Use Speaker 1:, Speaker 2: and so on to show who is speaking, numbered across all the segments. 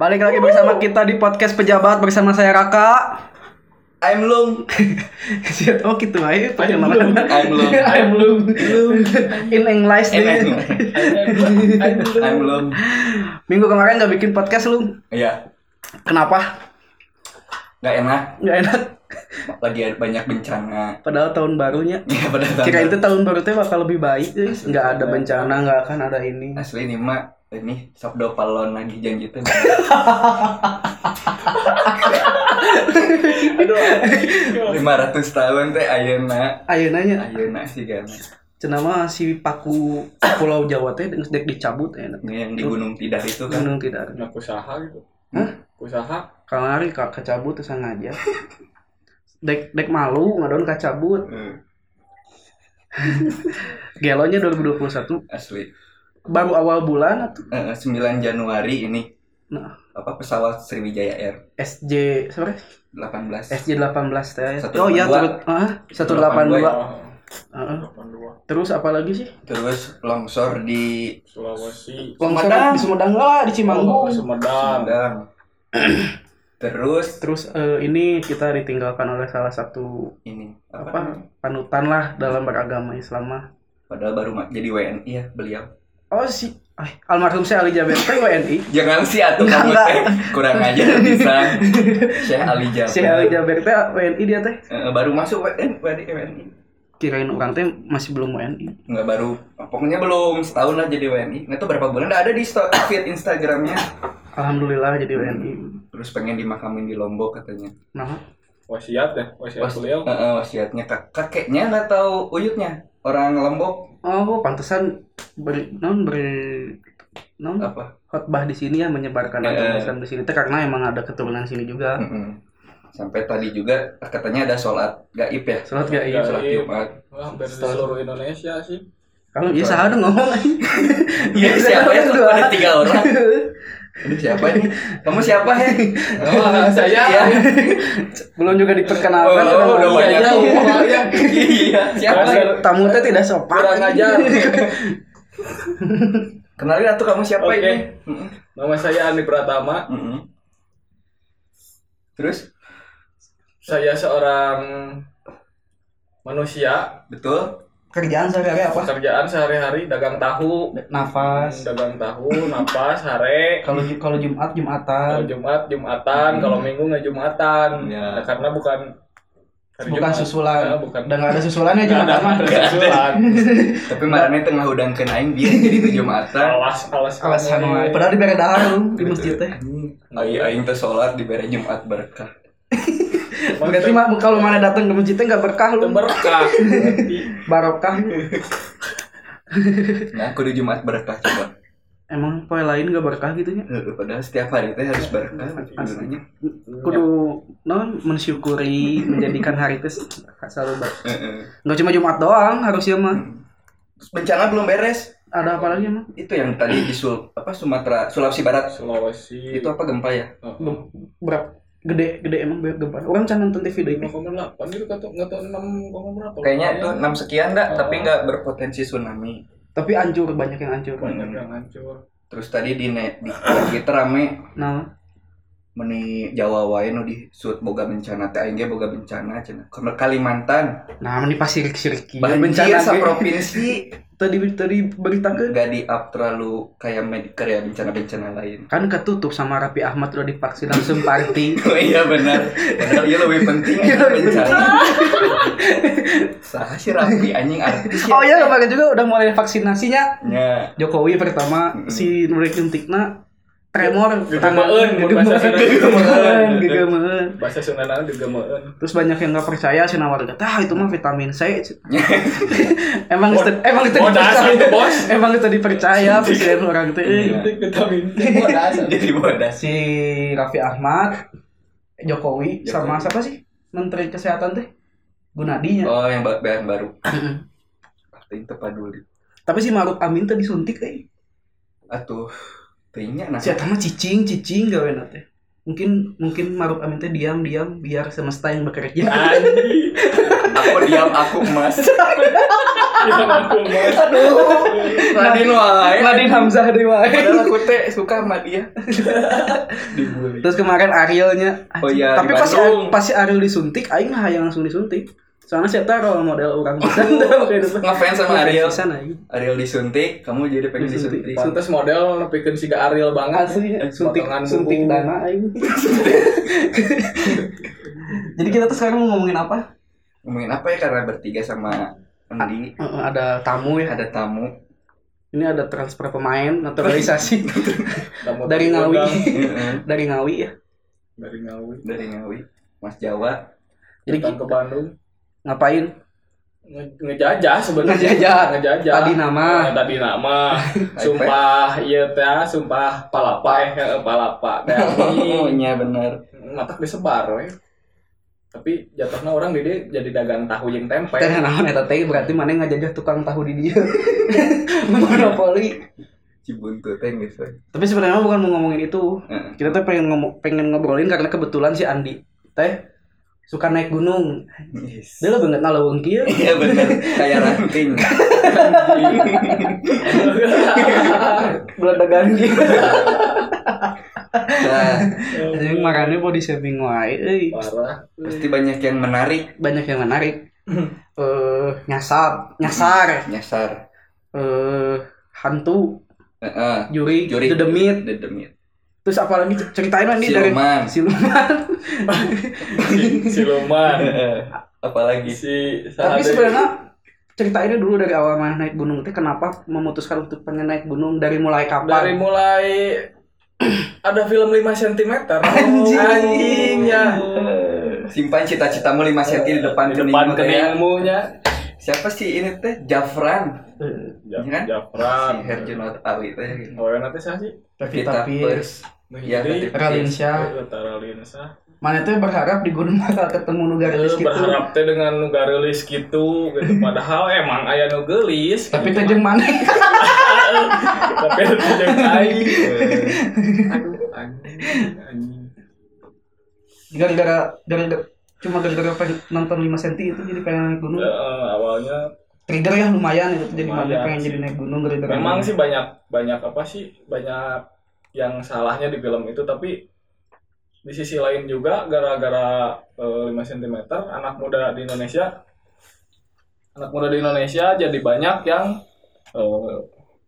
Speaker 1: Balik lagi bersama kita di podcast pejabat bersama saya Raka.
Speaker 2: I'm Lung.
Speaker 1: Siap, oh gitu aja. Pakai nama
Speaker 2: I'm Lung.
Speaker 1: I'm Lung. In English
Speaker 2: I'm
Speaker 1: deh.
Speaker 2: Lung. I'm Lung.
Speaker 1: Minggu kemarin gak bikin podcast lu.
Speaker 2: Iya,
Speaker 1: Kenapa?
Speaker 2: nggak enak.
Speaker 1: Gak enak.
Speaker 2: Lagi ada banyak bencana.
Speaker 1: Padahal tahun barunya.
Speaker 2: Ya pada tahun
Speaker 1: Kirain
Speaker 2: baru.
Speaker 1: itu tahun baru teh bakal lebih baik. eh. Nggak ada bencana, nggak akan ada ini.
Speaker 2: Asli ini mah ini sabdo palon lagi gitu. janji itu. Lima ratus tahun teh ayana
Speaker 1: Ayo nanya,
Speaker 2: ayana sih gana.
Speaker 1: cenama si Paku Pulau Jawa teh geus dek dicabut enak.
Speaker 2: Ini yang di Gunung Tidar itu kan.
Speaker 1: Gunung tidak ada.
Speaker 3: Nah, usaha gitu.
Speaker 1: Hah?
Speaker 3: Usaha
Speaker 1: Kalari ka kacabut teh sangaja. Dek dek malu ngadon kacabut.
Speaker 2: Eh,
Speaker 1: Gelonya 2021
Speaker 2: Asli.
Speaker 1: baru awal bulan atau
Speaker 2: Eh, 9 Januari ini
Speaker 1: nah
Speaker 2: apa pesawat Sriwijaya Air
Speaker 1: SJ sorry
Speaker 2: 18
Speaker 1: SJ 18 teh.
Speaker 2: Satu
Speaker 1: Oh iya
Speaker 2: delapan dua. ya?
Speaker 1: turut ah 182. Heeh.
Speaker 3: 82
Speaker 1: Terus apa lagi sih?
Speaker 2: terus longsor di
Speaker 3: Sulawesi
Speaker 1: Longsor
Speaker 2: Sumedang.
Speaker 1: di Sumedang lah di
Speaker 3: Oh,
Speaker 1: Cimanggung.
Speaker 3: Sumedang
Speaker 2: Sumedang. terus
Speaker 1: Terus eh, ini kita ditinggalkan oleh salah satu
Speaker 2: ini apa, namanya?
Speaker 1: apa panutan lah dalam beragama Islam mah.
Speaker 2: padahal baru ma- jadi WNI ya beliau
Speaker 1: Oh si eh, almarhum Syekh Ali Jaber teh WNI.
Speaker 2: jangan sih atuh kamu
Speaker 1: Enggak,
Speaker 2: teh kurang aja bisa Syekh Ali Jaber
Speaker 1: Syekh Ali Jaber teh WNI dia teh.
Speaker 2: Eh, baru masuk WNI WNI
Speaker 1: Kirain orang teh masih belum WNI.
Speaker 2: nggak baru pokoknya belum setahun lah jadi WNI nggak tahu Nah, berapa bulan Nggak ada di sto- feed Instagramnya
Speaker 1: Alhamdulillah jadi WNI.
Speaker 2: terus pengen dimakamin di Lombok katanya
Speaker 1: Nah,
Speaker 3: wasiat ya wasiat
Speaker 2: Was-
Speaker 3: beliau
Speaker 2: Eh, eh, wasiatnya kak- kakeknya nggak tahu uyutnya orang Lombok
Speaker 1: oh pantesan beri non beri non
Speaker 2: apa
Speaker 1: khotbah di sini ya menyebarkan
Speaker 2: Eh.
Speaker 1: agama Islam di sini teh karena emang ada keturunan sini juga.
Speaker 2: Mm-mm. sampai tadi juga katanya ada sholat gaib ya
Speaker 1: Salat gak iya.
Speaker 3: Gaib.
Speaker 2: sholat Jumat
Speaker 3: Wah, hampir di seluruh Indonesia sih
Speaker 1: Kalau iya sahadu ngomong.
Speaker 2: Iya siapa ya?
Speaker 1: Dua.
Speaker 2: Ada tiga orang. Aduh, siapa ini? Kamu siapa ya?
Speaker 3: Wah, saya
Speaker 2: Iya.
Speaker 1: Belum juga
Speaker 2: Oh,
Speaker 1: diperkenalkan.
Speaker 2: oh, udah
Speaker 1: Iya,
Speaker 2: banyak.
Speaker 1: iya, iya.
Speaker 3: ngomong.
Speaker 2: Iya, Iya, siapa?
Speaker 3: Kurang ajar.
Speaker 1: Tamu teh tidak sopan.
Speaker 3: kurang ajar
Speaker 2: Kenalin atuh kamu siapa
Speaker 3: Oke.
Speaker 2: ini?
Speaker 3: nama saya Andi Pratama
Speaker 2: Mm-mm. Terus
Speaker 3: saya seorang manusia
Speaker 2: betul
Speaker 1: Kerjaan sehari-hari apa?
Speaker 3: pekerjaan sehari-hari dagang tahu
Speaker 1: Nafas.
Speaker 3: dagang tahu napas hare
Speaker 1: Kalau Ju- kalau Jumat
Speaker 3: kalau
Speaker 1: Jumatan.
Speaker 3: Jumat Jumatan
Speaker 1: Hmm.
Speaker 3: kalau Minggu nggak Jumatan
Speaker 2: Ya.
Speaker 3: karena bukan hari
Speaker 1: Bukan
Speaker 3: Jumat.
Speaker 1: susulan.
Speaker 3: Ya,
Speaker 2: Ah,
Speaker 3: bukan
Speaker 1: Dan nggak ada susulannya
Speaker 3: Nggak ada
Speaker 1: Jumatan.
Speaker 3: ada susulan.
Speaker 2: tapi marane tengah udang aing dia jadi tujuh mata.
Speaker 3: alas alas
Speaker 2: Iya,
Speaker 1: Alasan
Speaker 3: kamu.
Speaker 1: wae. Padahal di bere dahar
Speaker 2: Oh,
Speaker 1: lu di masjid teh.
Speaker 2: Aing aing teh sholat di bare Jumat berkah.
Speaker 1: Berarti mah kalau mana datang ke masjid teh nggak berkah
Speaker 3: Itu
Speaker 1: lu.
Speaker 3: berkah Berarti
Speaker 1: Barokah.
Speaker 2: Nah, kudu Jumat berkah coba.
Speaker 1: Emang poin lain nggak berkah gitu nya.
Speaker 2: Heeh, Padahal setiap hari teh harus berkah.
Speaker 1: Aslinya.
Speaker 2: sebenarnya.
Speaker 1: kudu non mensyukuri menjadikan hari itu selalu baik.
Speaker 2: Heeh.
Speaker 1: Nggak cuma Jumat doang harusnya mah.
Speaker 2: Terus Bencana belum beres.
Speaker 1: Ada apa lagi emang?
Speaker 2: Itu yang tadi di Sul apa Sumatera Sulawesi Barat.
Speaker 3: Sulawesi
Speaker 1: Iya. Gitu.
Speaker 2: Itu apa gempa ya?
Speaker 3: Heeh.
Speaker 1: Gem- Berapa? Gede, gede emang be- gempa. Orang can nonton TV deh.
Speaker 3: 5,8 gitu kata nggak tahu 6, berapa
Speaker 2: Kayaknya itu
Speaker 1: iya.
Speaker 3: Lumayan.
Speaker 2: 6 sekian dah,
Speaker 3: Oh.
Speaker 2: tapi nggak berpotensi tsunami.
Speaker 1: Tapi hancur banyak yang hancur.
Speaker 3: banyak yang hancur
Speaker 2: Terus tadi di net di Twitter rame
Speaker 1: Nah,
Speaker 2: meni Jawa wae nu di Sud boga bencana teh aing ge boga bencana cenah. Ke Kalimantan.
Speaker 1: nah ini pas sirik-sirik.
Speaker 2: Banjir sa
Speaker 1: Iya, ge.
Speaker 2: provinsi
Speaker 1: tadi tadi beritakan
Speaker 2: nggak di up terlalu kayak mediker ya bencana-bencana lain.
Speaker 1: kan ketutup sama Raffi Ahmad udah divaksin langsung party.
Speaker 2: Oh iya benar. Padahal iya lebih penting
Speaker 1: Iya,
Speaker 2: aja
Speaker 1: lebih
Speaker 2: bencana. Sah si Rapi anjing artis ya.
Speaker 1: Oh iya kemarin juga udah mulai vaksinasinya.
Speaker 2: Ya.
Speaker 1: Jokowi pertama
Speaker 2: Mm-mm.
Speaker 1: si Nurik Tikna tremor
Speaker 3: Gegemeun, mun bahasa Sunda.
Speaker 1: gegemeun gegemeun
Speaker 3: bahasa Sunda nang digemeun
Speaker 1: terus banyak yang nggak percaya sih warga tah "Ah, itu mah vitamin C emang itu emang itu
Speaker 3: Bodas itu,
Speaker 1: dipercaya
Speaker 3: bos.
Speaker 1: emang itu dipercaya presiden orang itu eh.
Speaker 2: Iya.
Speaker 3: vitamin D bodas
Speaker 2: Jadi bodas.
Speaker 1: si Raffi Ahmad Jokowi sama
Speaker 2: Jokowi.
Speaker 1: siapa sih menteri kesehatan teh Gunadinya
Speaker 2: Oh, yang, ba- yang baru. Ting tepaduli.
Speaker 1: tapi si Maruf Amin tadi suntik eh
Speaker 2: Atuh, tehnya nah.
Speaker 1: si Eta mah cicing cicing gawe teh mungkin mungkin Maruf Amin teh diam-diam biar semesta yang bekerja.
Speaker 4: Anjing.
Speaker 2: aku diam aku emas
Speaker 4: Itu aku banget.
Speaker 2: aduh Nadine wae
Speaker 1: Nadine Hamzah deh wae.
Speaker 2: padahal aku teh suka sama dia dibully
Speaker 1: Terus kemarin Arielnya.
Speaker 2: Oh iya,
Speaker 1: Tapi
Speaker 2: di
Speaker 1: pas
Speaker 2: Bandung.
Speaker 1: pas si Ariel disuntik, aing mah yang langsung disuntik. Soalnya saya taruh model orang bisa dalam kehidupan.
Speaker 2: ngefans sama
Speaker 1: Ngefans
Speaker 2: Ariel
Speaker 1: pisan, Iya, aing.
Speaker 2: Ariel disuntik kamu jadi pengen
Speaker 1: Disuntik.
Speaker 2: disuntik
Speaker 4: Pantes model nepikeun si Ga Ariel banget.
Speaker 1: Asli, Eh, suntik
Speaker 4: potongan
Speaker 1: suntik
Speaker 4: buku.
Speaker 1: dana aing. Jadi kita tuh sekarang mau ngomongin apa?
Speaker 2: ngomongin apa ya karena bertiga sama Endi
Speaker 1: Eh, eh, Ada tamu ya.
Speaker 2: ada tamu
Speaker 1: Ini ada transfer pemain, naturalisasi
Speaker 4: Tamu
Speaker 1: dari Ngawi.
Speaker 4: diundang.
Speaker 2: Heeh,
Speaker 1: dari Ngawi ya.
Speaker 4: Dari Ngawi.
Speaker 2: dari Ngawi Mas Jawa
Speaker 1: Jadi
Speaker 4: Datang ke Bandung.
Speaker 1: ngapain?
Speaker 4: Nge- ngejajah sebenarnya
Speaker 1: Ngejajah.
Speaker 4: ngejajah
Speaker 1: Tadi nama.
Speaker 4: Eh, tadi nama sumpah iya teh sumpah palapa eh eh, palapa teh
Speaker 2: oh iya benar
Speaker 4: matak disebar we tapi jatuhnya orang dede jadi dagang tahu yang tempe
Speaker 1: Teh naon eta teh berarti mana ngajajah tukang tahu di dia. Monopoli.
Speaker 2: Cibuntu teh gitu
Speaker 1: Tapi sebenarnya mah bukan mau ngomongin itu.
Speaker 2: Heeh.
Speaker 1: Kita tuh pengen ngomong pengen ngobrolin karena kebetulan si Andi teh suka naik gunung.
Speaker 2: Yes.
Speaker 1: Dia lah banget nalawung kieu.
Speaker 2: Iya benar, kayak ranting.
Speaker 1: Ah, Beledagan kieu.
Speaker 2: Nah,
Speaker 1: Jadi makanya body shaming wae euy.
Speaker 4: parah
Speaker 2: pasti banyak yang menarik
Speaker 1: Banyak yang menarik. Eh nyasar, nyasar.
Speaker 2: nyasar.
Speaker 1: Eh hantu,
Speaker 2: Heeh.
Speaker 1: juri,
Speaker 2: Juri.
Speaker 1: The Demit.
Speaker 2: The demit.
Speaker 1: Terus apalagi cer- ceritain
Speaker 4: Kan
Speaker 1: Andi dari
Speaker 2: Siluman.
Speaker 1: siluman.
Speaker 4: si siluman
Speaker 2: Heeh. Apalagi
Speaker 4: si
Speaker 1: Tapi
Speaker 4: Sahade.
Speaker 1: sebenarnya ceritainnya dulu dari awal mana naik gunung itu kenapa memutuskan untuk pengen naik gunung dari mulai
Speaker 4: dari
Speaker 1: kapan?
Speaker 4: mulai ada film 5 cm
Speaker 1: Anjing.
Speaker 4: anjingnya
Speaker 2: simpan cita-citamu 5 senti di depan
Speaker 4: ya. di depan
Speaker 2: keningmu teh ya.
Speaker 4: keningmu nya
Speaker 2: Siapa sih ini teh? Jafran.
Speaker 4: Ja-
Speaker 2: Kan? Si
Speaker 4: Jafran
Speaker 2: Herjunot Ali teh. gitu.
Speaker 4: Oh, nanti sah sih.
Speaker 2: Pevita Pierce. Iya,
Speaker 4: Jadi, Iya.
Speaker 1: Ralinsyah.
Speaker 4: ah.
Speaker 1: Mana tuh berharap di gunung bakal ketemu nu garis gitu.
Speaker 4: berharap teh dengan nu garelis gitu gitu padahal emang aya nu geulis
Speaker 1: Tapi teh jeung mana?
Speaker 4: tapi teu jeung aing aduh anjing anjing
Speaker 1: Gara-gara gara-gara cuma gara-gara pengen nonton 5 cm itu jadi pengen naik gunung.
Speaker 4: Eh, awalnya
Speaker 1: Trigger ya lumayan itu jadi
Speaker 4: Lumayan
Speaker 1: mana pengen
Speaker 4: sih.
Speaker 1: jadi naik gunung gara-gara.
Speaker 4: memang sih banyak banyak apa sih banyak yang salahnya di film itu tapi di sisi lain juga gara-gara eh, 5 cm anak muda di Indonesia anak muda di Indonesia jadi banyak yang eh,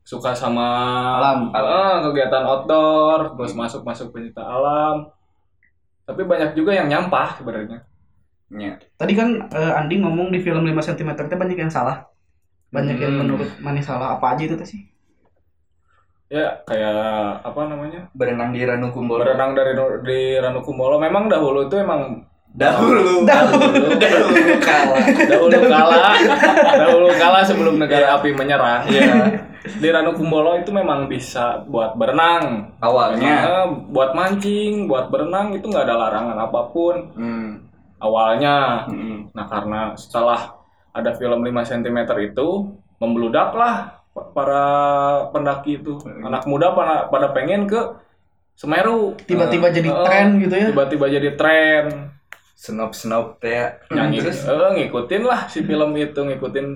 Speaker 4: suka sama
Speaker 2: Alam.
Speaker 4: Eh, kegiatan outdoor terus masuk-masuk pencipta alam tapi banyak juga yang nyampah sebenarnya
Speaker 2: Ya.
Speaker 1: Tadi kan eh, Andi ngomong di film 5 cm itu banyak yang salah. Banyak yang
Speaker 4: Hmm.
Speaker 1: menurut Mani salah apa aja itu teh sih?
Speaker 4: ya kayak apa namanya
Speaker 2: Berenang di Ranu Kumbolo.
Speaker 4: berenang dari di Ranukumbolo memang dahulu itu emang
Speaker 2: Dahulu.
Speaker 4: Dahulu.
Speaker 2: Dahulu kalah.
Speaker 4: dahulu kala Iya. dahulu kala sebelum negara api menyerang
Speaker 2: Ya,
Speaker 4: di Ranu Kumbolo itu memang bisa buat berenang
Speaker 2: awalnya.
Speaker 4: Eh, buat mancing buat berenang itu nggak ada larangan apapun
Speaker 2: Hmm.
Speaker 4: awalnya
Speaker 2: Mm-mm.
Speaker 4: nah karena setelah ada film 5 cm itu membludaklah pa- para pendaki itu anak muda pada pada pengen ke Semeru
Speaker 1: Tiba-tiba
Speaker 4: Eh,
Speaker 1: jadi
Speaker 4: eh,
Speaker 1: tren gitu ya.
Speaker 4: tiba-tiba jadi tren
Speaker 2: Senop-senop teh.
Speaker 4: yang
Speaker 2: Hmm,
Speaker 4: terus eh, ngikutin lah si film itu ngikutin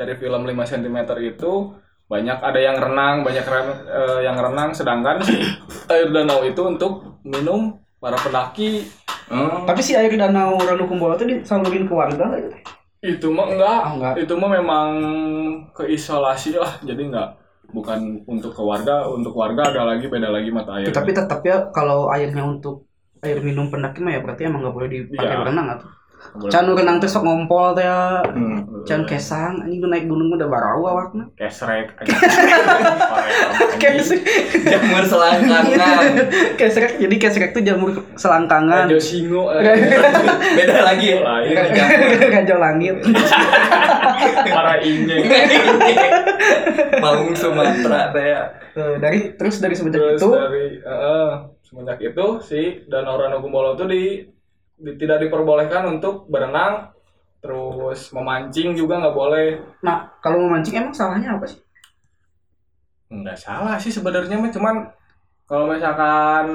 Speaker 4: dari film 5 cm itu banyak ada yang renang banyak ren- eh, yang renang sedangkan si air danau itu untuk minum para pendaki
Speaker 2: Hmm.
Speaker 1: Tapi si air danau Ranukumbolo itu disalurin ke warga nggak itu?
Speaker 4: itu mah enggak,
Speaker 1: Ah, enggak.
Speaker 4: itu mah memang keisolasi lah jadi enggak bukan untuk ke warga untuk warga ada lagi beda lagi mata air
Speaker 1: Tapi tetap ya kalau airnya untuk air minum pendaki mah ya berarti emang nggak boleh dipakai
Speaker 4: Iya.
Speaker 1: berenang atau can nu renang teh sok ngompol teh ya.
Speaker 2: Hmm.
Speaker 1: can kesang anjing nu naik gunung udah barau awakna
Speaker 4: kesrek
Speaker 1: kesrek
Speaker 2: Jamur selangkangan.
Speaker 1: kesrek jadi kesrek tuh jamur selangkangan
Speaker 4: Rajo Singo
Speaker 2: Beda lagi ya.
Speaker 4: Lain.
Speaker 2: Kan jamur.
Speaker 1: gajah langit
Speaker 4: para injek
Speaker 2: Maung Sumatera teh.
Speaker 1: Eh, dari terus dari semenjak
Speaker 4: Terus
Speaker 1: itu
Speaker 4: dari eh, semenjak itu si Danau Ranu Kumbolo itu di, di- tidak diperbolehkan untuk berenang, terus memancing juga nggak boleh.
Speaker 1: nah kalau memancing emang salahnya apa sih
Speaker 4: Nggak salah sih sebenarnya mah cuman kalau misalkan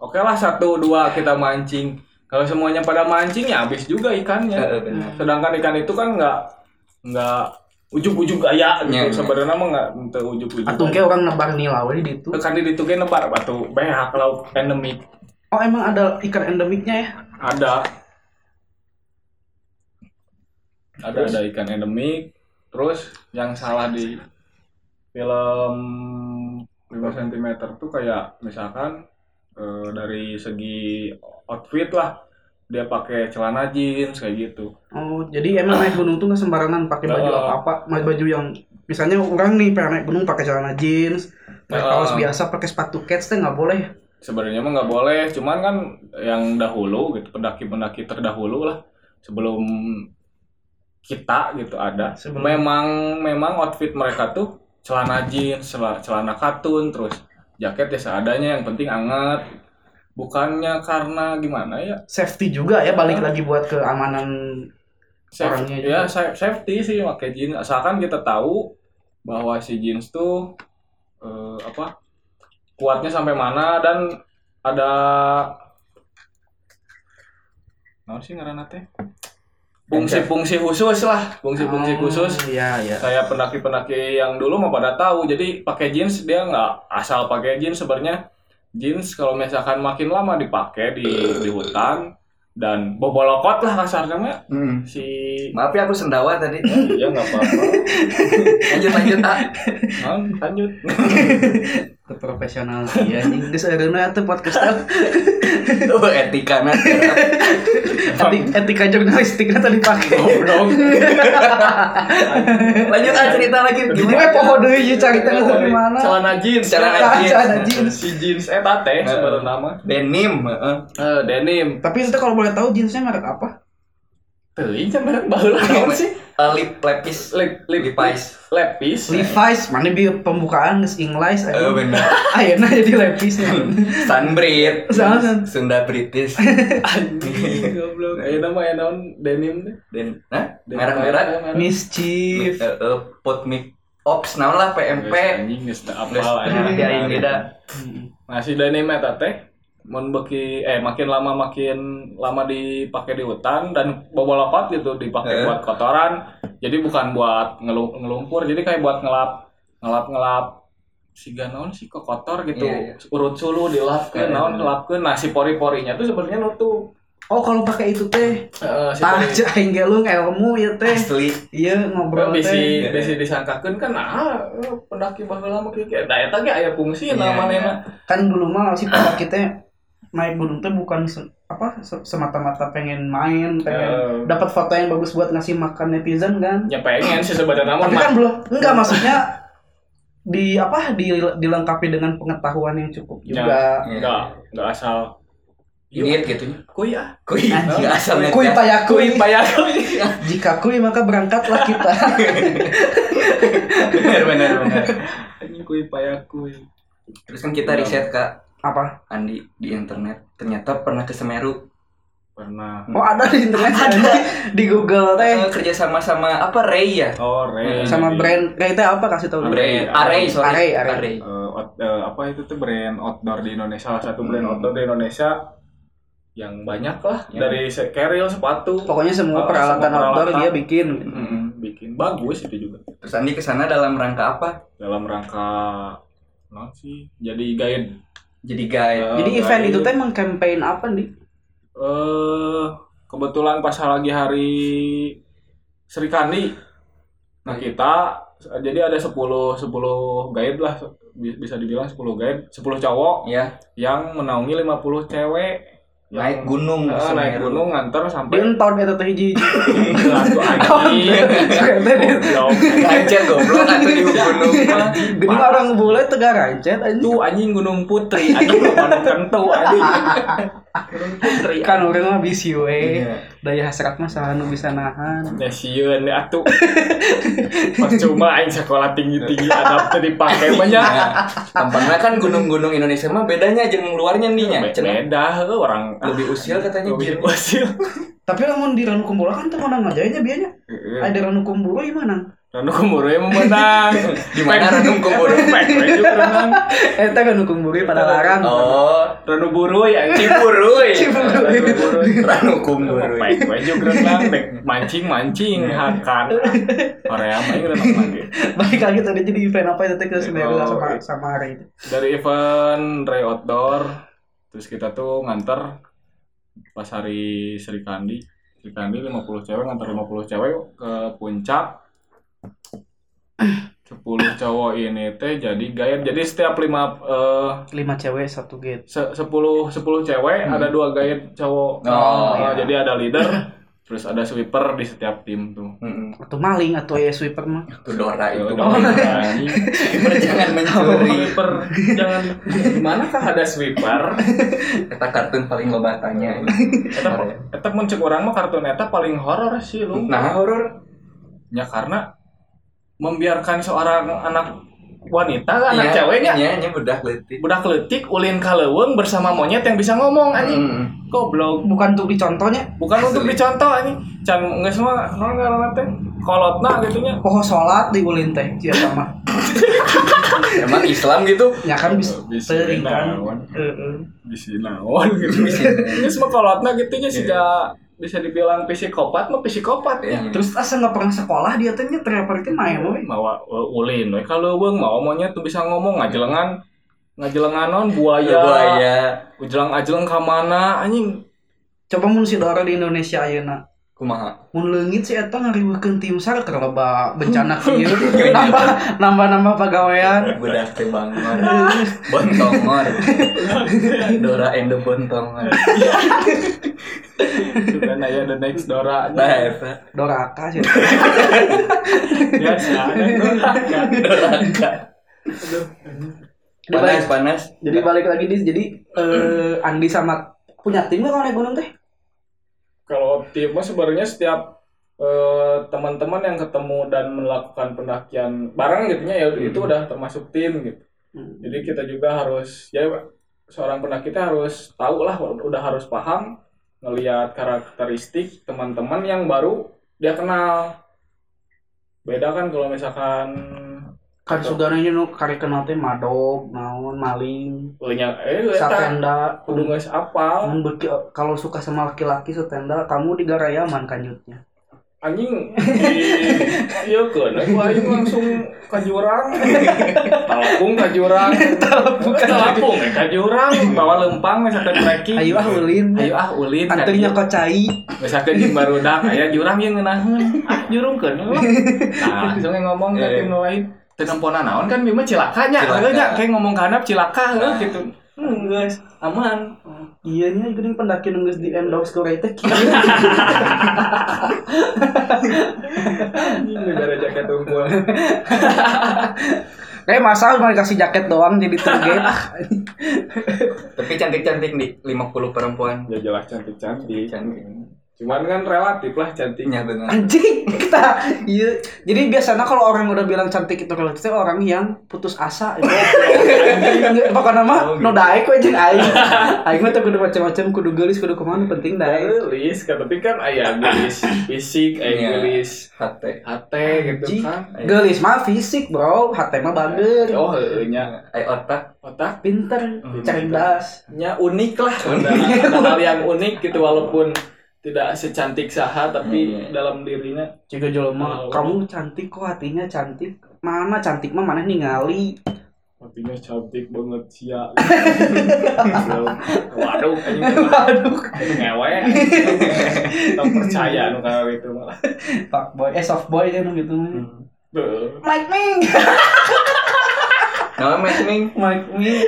Speaker 4: Oke lah satu dua kita mancing. Kalau semuanya pada mancing ya habis juga ikannya.
Speaker 2: Heeh, benar.
Speaker 4: Sedangkan ikan itu kan nggak nggak ujuk-ujuk gaya gitu.
Speaker 2: Ya, ya.
Speaker 4: Sebenarnya mah nggak untuk ujuk-ujuk.
Speaker 1: Atau
Speaker 4: gaya.
Speaker 1: kayak orang nebar nilau di ditu.
Speaker 4: Kan di itu kan nebar batu behak laut endemik
Speaker 1: Oh emang ada ikan endemiknya ya?
Speaker 4: ada. Ada ada ikan endemik. Terus yang salah di film 5 cm tuh kayak misalkan eh, dari segi outfit lah dia pakai celana jeans kayak gitu.
Speaker 1: Oh jadi emang naik gunung tuh nggak sembarangan pakai baju
Speaker 4: Nah.
Speaker 1: apa apa, pakai baju yang misalnya orang nih pengen naik gunung pakai celana jeans, pakai
Speaker 4: Nah.
Speaker 1: kaos biasa, pakai sepatu cats teh nggak boleh.
Speaker 4: Sebenarnya mah nggak boleh, cuman kan yang dahulu gitu pendaki-pendaki terdahulu lah sebelum kita gitu ada.
Speaker 1: Sebelum-
Speaker 4: Memang memang outfit mereka tuh celana jeans, cela- celana katun, terus jaket ya seadanya yang penting anget. Bukannya karena gimana ya?
Speaker 1: Safety juga ya balik lagi buat keamanan. Orangnya
Speaker 4: Safety,
Speaker 1: juga.
Speaker 4: ya sa- safety sih pakai jeans. Asalkan kita tahu bahwa si jeans tuh eh, apa kuatnya sampai mana dan ada naon sih ngaranna teh? Fungsi-fungsi khusus lah, fungsi-fungsi
Speaker 1: Oh,
Speaker 4: khusus.
Speaker 1: Iya iya.
Speaker 4: Kayak pendaki-pendaki yang dulu mah pada tahu. Jadi pakai jeans dia nggak asal pakai jeans sebenarnya. Jeans kalau misalkan makin lama dipakai di di hutan dan bobolokot lah kasarnya mah
Speaker 2: Hmm.
Speaker 4: si
Speaker 2: Maaf ya aku sendawa tadi.
Speaker 4: ya nggak apa-apa
Speaker 2: Lanjut lanjut ah.
Speaker 4: Nah, lanjut
Speaker 1: Keprofesional iya. Geus ayeuna atuh podcast teh.
Speaker 2: Oh, etika nah.
Speaker 1: Eti- etika jurnalistiknya tadi pakai.
Speaker 4: goblok
Speaker 2: Lanjut ah cerita lagi.
Speaker 1: Gue poho deui ieu carita teh di mana?
Speaker 4: celana jeans
Speaker 2: Celana jeans.
Speaker 1: Celana jeans.
Speaker 4: si jeans eh teh sebenarnya nama
Speaker 2: Denim, heeh.
Speaker 4: eh denim
Speaker 1: Tapi itu kalau boleh tahu jeansnya merek apa?
Speaker 4: teling kan merek baru lah
Speaker 2: Apa?
Speaker 4: naon sih
Speaker 2: Eh, lip lepis.
Speaker 4: lip lip
Speaker 2: Levi's.
Speaker 4: lepis
Speaker 1: Levi's, mana bi pembukaan geus English
Speaker 2: Eh
Speaker 1: aja.
Speaker 2: benar.
Speaker 1: Ayeuna nah, jadi Levi's ya. nya.
Speaker 2: Sunbrit.
Speaker 1: Sun.
Speaker 2: Sunda British.
Speaker 4: anjing goblok eh nama ya naon denim teh
Speaker 2: Dan nah,
Speaker 4: Denim
Speaker 2: merah-merah.
Speaker 4: merah.
Speaker 1: Mischief.
Speaker 2: Eh, eh, pot mic ops naon lah PMP.
Speaker 4: anjing geus teu
Speaker 2: Terus
Speaker 4: apal anjing.
Speaker 2: ya ini dah.
Speaker 4: Nah, si Dani Meta teh mun beki eh makin lama makin lama dipakai di hutan dan bobolokot gitu dipakai
Speaker 2: Eh.
Speaker 4: buat kotoran. Jadi bukan buat ngelu- ngelumpur, jadi kayak buat ngelap ngelap-ngelap si ganon si kotor gitu.
Speaker 2: Iya,
Speaker 4: Urut sulu
Speaker 2: Eh.
Speaker 4: dilapkeun naon ngelapkeun. Nah, si pori-porinya tuh sebenarnya nutup.
Speaker 1: Oh kalau pakai itu teh,
Speaker 4: Heeh, si
Speaker 1: tah
Speaker 4: pori-
Speaker 1: cek aing ge leung ilmu ya teh.
Speaker 2: Asli.
Speaker 1: Iya ngobrol teh.
Speaker 4: bisi bisi disangkakeun kan ah eh, pendaki baheula mah kieu kieu. Da gitu. Nah, eta ge aya fungsi
Speaker 2: Iya,
Speaker 4: yeah,
Speaker 2: iya.
Speaker 1: Kan dulu mah si pendaki teh naik gunung teh bukan se- apa se- semata-mata pengen main, pengen dapat foto yang bagus buat ngasih makan netizen kan.
Speaker 4: Ya pengen sih sebenarnya mah
Speaker 1: Tapi kan belum enggak maksudnya di apa di, dilengkapi dengan pengetahuan yang cukup
Speaker 4: Ya.
Speaker 1: juga.
Speaker 4: nggak nggak asal
Speaker 2: Ini gitunya.
Speaker 4: kuy ah
Speaker 2: gitu. Kuy,
Speaker 1: Anjing.
Speaker 2: asal ya.
Speaker 1: Kui
Speaker 2: netnya.
Speaker 1: payakui,
Speaker 4: bayar
Speaker 1: jika kui maka berangkatlah kita.
Speaker 2: Benar benar benar.
Speaker 4: anjing kuy payah kuy
Speaker 2: Terus kan kita riset Kak
Speaker 1: apa?
Speaker 2: Andi di internet. Ternyata pernah ke Semeru.
Speaker 4: pernah
Speaker 1: Oh ada di internet
Speaker 2: Ada.
Speaker 1: di Google teh
Speaker 2: Eh, kerja sama sama apa Ray ya?
Speaker 4: sore
Speaker 1: sama brand kayak teh apa kasih tahu dulu.
Speaker 4: Brand.
Speaker 2: Ray, ah, Ray, sorry.
Speaker 1: Array, Array.
Speaker 2: Array.
Speaker 4: Eh, apa itu tuh brand outdoor di Indonesia salah satu brand
Speaker 2: Hmm.
Speaker 4: outdoor di Indonesia yang banyak lah
Speaker 2: Yang-
Speaker 4: dari se- carrier sepatu
Speaker 1: Pokoknya semua
Speaker 4: Oh,
Speaker 1: peralatan
Speaker 4: semua
Speaker 1: outdoor
Speaker 4: peralatan.
Speaker 1: dia bikin.
Speaker 4: Mm-mm, bikin bagus itu juga
Speaker 2: Terus Andi ke sana dalam rangka apa?
Speaker 4: dalam rangka non sih jadi guide
Speaker 2: Jadi guide.
Speaker 4: Eh,
Speaker 1: Jadi
Speaker 4: guide.
Speaker 1: event itu teh emang campaign apa nih?
Speaker 4: eh kebetulan pas lagi hari Sri Kandi. Nah, kita jadi ada 10 10 guide lah bi- bisa dibilang 10 guide, 10 cowok
Speaker 2: Ya,
Speaker 4: yang menaungi 50 cewek
Speaker 2: Oh, naik gunung
Speaker 4: Eh,
Speaker 2: ke
Speaker 4: naik
Speaker 2: Semeru.
Speaker 4: gunung nganter sampai
Speaker 1: Dia tahun itu teh hiji.
Speaker 4: Aduh,
Speaker 1: Iya.
Speaker 2: Oh,
Speaker 4: anjing. Goblok.
Speaker 2: Kancet goblok atau di gunung mah.
Speaker 1: Gini mah orang bule tegar rancet aja.
Speaker 4: Tuh anjing Gunung Putri, anjing lu baru kentu anjing. Gunung Putri.
Speaker 1: Kan orang mah bisi we.
Speaker 2: Iya.
Speaker 1: Daya hasrat mah sahanu bisa nahan.
Speaker 4: Ya sieun deh atuh. Percuma aing sekolah tinggi-tinggi adab teu dipake banyak.
Speaker 2: Nah, tampaknya kan gunung-gunung Indonesia mah bedanya jeung luarnya ya. nih nya. Cenah
Speaker 4: Beda heuh orang
Speaker 2: Ah, lebih usil katanya
Speaker 4: lebih
Speaker 2: jeung.
Speaker 4: usil.
Speaker 1: Tapi lamun di Ranu Kumbolo kan teu menang ngajainya biasanya.
Speaker 4: Heeh.
Speaker 1: Ada Ranu Kumbolo gimana?
Speaker 4: Ranu Kumuru yang memenang.
Speaker 2: Di mana Ranu Kumuru?
Speaker 1: Eh,
Speaker 4: Pek, pek, pek, juga menang.
Speaker 1: Eta Ranu Kumbolo pada larang.
Speaker 2: Oh, ya.
Speaker 4: Ranu Buruy anjing.
Speaker 2: Ciburuy.
Speaker 1: Ciburuy.
Speaker 4: Ranu Buruy.
Speaker 2: Ranu Kumburuy.
Speaker 4: Baik, gue juga kan mancing mancing hakan. Korea mah ini nama dia.
Speaker 1: Baik lagi tadi jadi event apa itu teh kita
Speaker 4: Oh,
Speaker 1: sebenarnya sama
Speaker 4: iya.
Speaker 1: sama hari itu.
Speaker 4: Dari event Ray Outdoor, terus kita tuh nganter pas hari Sri Kandi. Sri Kandi 50 cewek nganter 50 cewek ke puncak. 10 cowok ini teh jadi gayet. Jadi setiap 5 eh
Speaker 1: Lima cewek satu gate.
Speaker 4: se- 10 10 cewek
Speaker 2: Hmm.
Speaker 4: ada dua gayet
Speaker 2: Oh,
Speaker 4: cowok. Nah,
Speaker 1: iya.
Speaker 4: jadi ada leader, terus ada sweeper di setiap tim tuh.
Speaker 2: Mm-mm.
Speaker 1: Atau maling atau ya sweeper mah.
Speaker 2: Itu Dora Nah, itu.
Speaker 4: Udah, udah, anjing.
Speaker 2: Sweeper jangan mencuri.
Speaker 3: sweeper jangan gimana kah ada sweeper
Speaker 2: Kata kartun paling Iya. loba tanya.
Speaker 4: Eta, eta mun cek orang mah kartun eta paling horor sih lu.
Speaker 2: Nah, horor.
Speaker 4: Ya karena membiarkan seorang anak wanita, anak
Speaker 2: Iya,
Speaker 4: ceweknya
Speaker 2: Iya, iya bedak letik.
Speaker 4: budak letik ulin ka leuweung bersama monyet yang bisa ngomong anjing.
Speaker 2: Mm.
Speaker 4: Goblok.
Speaker 1: Bukan untuk dicontohnya.
Speaker 4: Bukan untuk
Speaker 2: Asli.
Speaker 4: dicontoh anjing. Can geus mah naon ngaranna teh? Kolotna gitu gitunya.
Speaker 1: Oh sholat di ulin teh siapa mah.
Speaker 2: Emang Islam gitu?
Speaker 1: Ya kan bisa
Speaker 3: Bisa
Speaker 1: teri kan.
Speaker 4: naon.
Speaker 1: Heeh.
Speaker 4: Bisi naon gitu. Geus mah kolotna gitunya
Speaker 2: Iya.
Speaker 4: siga bisa dibilang psikopat mah psikopat ya.
Speaker 2: Iya.
Speaker 1: Terus asa nggak pernah sekolah dia teh nya terapar teh main we.
Speaker 4: mawa eh, ulin we kalau bang mau maunya tuh bisa ngomong ngajelengan ngajelengan non buaya
Speaker 2: Buaya.
Speaker 4: ujelang ajeleng ka mana anjing
Speaker 1: Coba mun si Dora di Indonesia ayeuna.
Speaker 2: Kumaha?
Speaker 1: Mun leungit si eta ngariweukeun tim SAR ke loba bencana kieu. nambah nambah-nambah pagawean.
Speaker 2: Bedak teh bangor. Bontongor. Dora and the Bontongor.
Speaker 4: juga naya kan the next Dora
Speaker 2: Nah, Eva.
Speaker 1: Doraka sih.
Speaker 3: Iya,
Speaker 4: biasa
Speaker 2: Doraka. Panas, panas.
Speaker 1: Jadi balik lagi dis, jadi eh, Andi sama punya tim nggak kalau naik gunung teh?
Speaker 3: kalau tim mah sebenarnya setiap eh, teman-teman yang ketemu dan melakukan pendakian bareng gitu ya itu
Speaker 4: Hmm.
Speaker 3: udah termasuk tim gitu
Speaker 1: Hmm.
Speaker 3: jadi kita juga harus ya seorang pendaki kita harus tahu lah udah harus paham ngelihat karakteristik teman-teman yang baru dia kenal beda kan kalau misalkan
Speaker 1: Kan sugaranya nu kari kenal teh madog, naon, maling,
Speaker 3: punya eh eta
Speaker 1: satenda,
Speaker 3: kudu geus apal
Speaker 1: Mun beki- kalau suka sama laki-laki satenda, kamu di garayaman kanyutnya.
Speaker 3: anjing iya kan aku aing langsung ke jurang talapung ke jurang talapung ke talapung eh, ke jurang
Speaker 4: bawa lempang misalkan trekking
Speaker 1: Ayo ah ulin,
Speaker 4: ayo ah ulin
Speaker 1: antrinya
Speaker 4: kan
Speaker 1: kocai.
Speaker 4: misalkan di barudak aya jurang yang ngeunaheun ah jurung kan nah langsung yang ngomong
Speaker 3: Iya,
Speaker 4: ke tim nu lain teu nempona naon kan bima cilakanya
Speaker 2: Cilaka.
Speaker 4: cilaka. kayak ngomong ke handap
Speaker 3: Nah.
Speaker 4: cilaka heuh, gitu hmm, guys aman
Speaker 1: Iya nya geuning pendaki nu geus di endorse ku rete.
Speaker 3: anjing negara jaket unggul
Speaker 1: Kayak masalah cuma Eh, dikasih jaket doang jadi tour guide.
Speaker 2: Tapi cantik-cantik di 50 perempuan.
Speaker 3: ya jelas cantik cantik
Speaker 2: Cantik.
Speaker 3: cuman kan relatif lah cantiknya
Speaker 2: Iya benar.
Speaker 1: Anjing kita. Iya. Jadi biasanya kalau orang udah bilang cantik itu relatif itu orang yang putus asa. Ya. Anjing,
Speaker 3: Oh,
Speaker 1: Pokoknya mah
Speaker 3: gitu.
Speaker 1: no daek we jeung aing. Aing mah teu kudu macam-macam kudu geulis kudu kumaha nu penting
Speaker 4: Nah,
Speaker 1: daek.
Speaker 3: gelis kan tapi kan aya gelis fisik
Speaker 2: Iya.
Speaker 3: aya gelis
Speaker 2: Hate.
Speaker 3: hate gitu kan
Speaker 1: Geulis mah fisik, Bro. Hate mah bager.
Speaker 3: oh heeh nya
Speaker 4: iya.
Speaker 2: Ai Eh, otak.
Speaker 3: otak
Speaker 1: Pinter, cerdas.
Speaker 3: nya Ya, unik lah ada hal yang unik gitu walaupun tidak secantik saha tapi
Speaker 2: Iya.
Speaker 3: dalam dirinya
Speaker 1: Juga
Speaker 3: Oh.
Speaker 1: jelema, kamu cantik kok hatinya cantik. Mana cantik mah mana ningali.
Speaker 3: hatinya cantik banget sia waduh anjing
Speaker 1: Aduh,
Speaker 3: ngewe tak ya. percaya nu kalau itu malah
Speaker 1: fuckboy, eh softboy kan gitu mah.
Speaker 3: Hmm. Beuh.
Speaker 1: Mike Ming,
Speaker 2: Nama matching
Speaker 1: Mike Ming,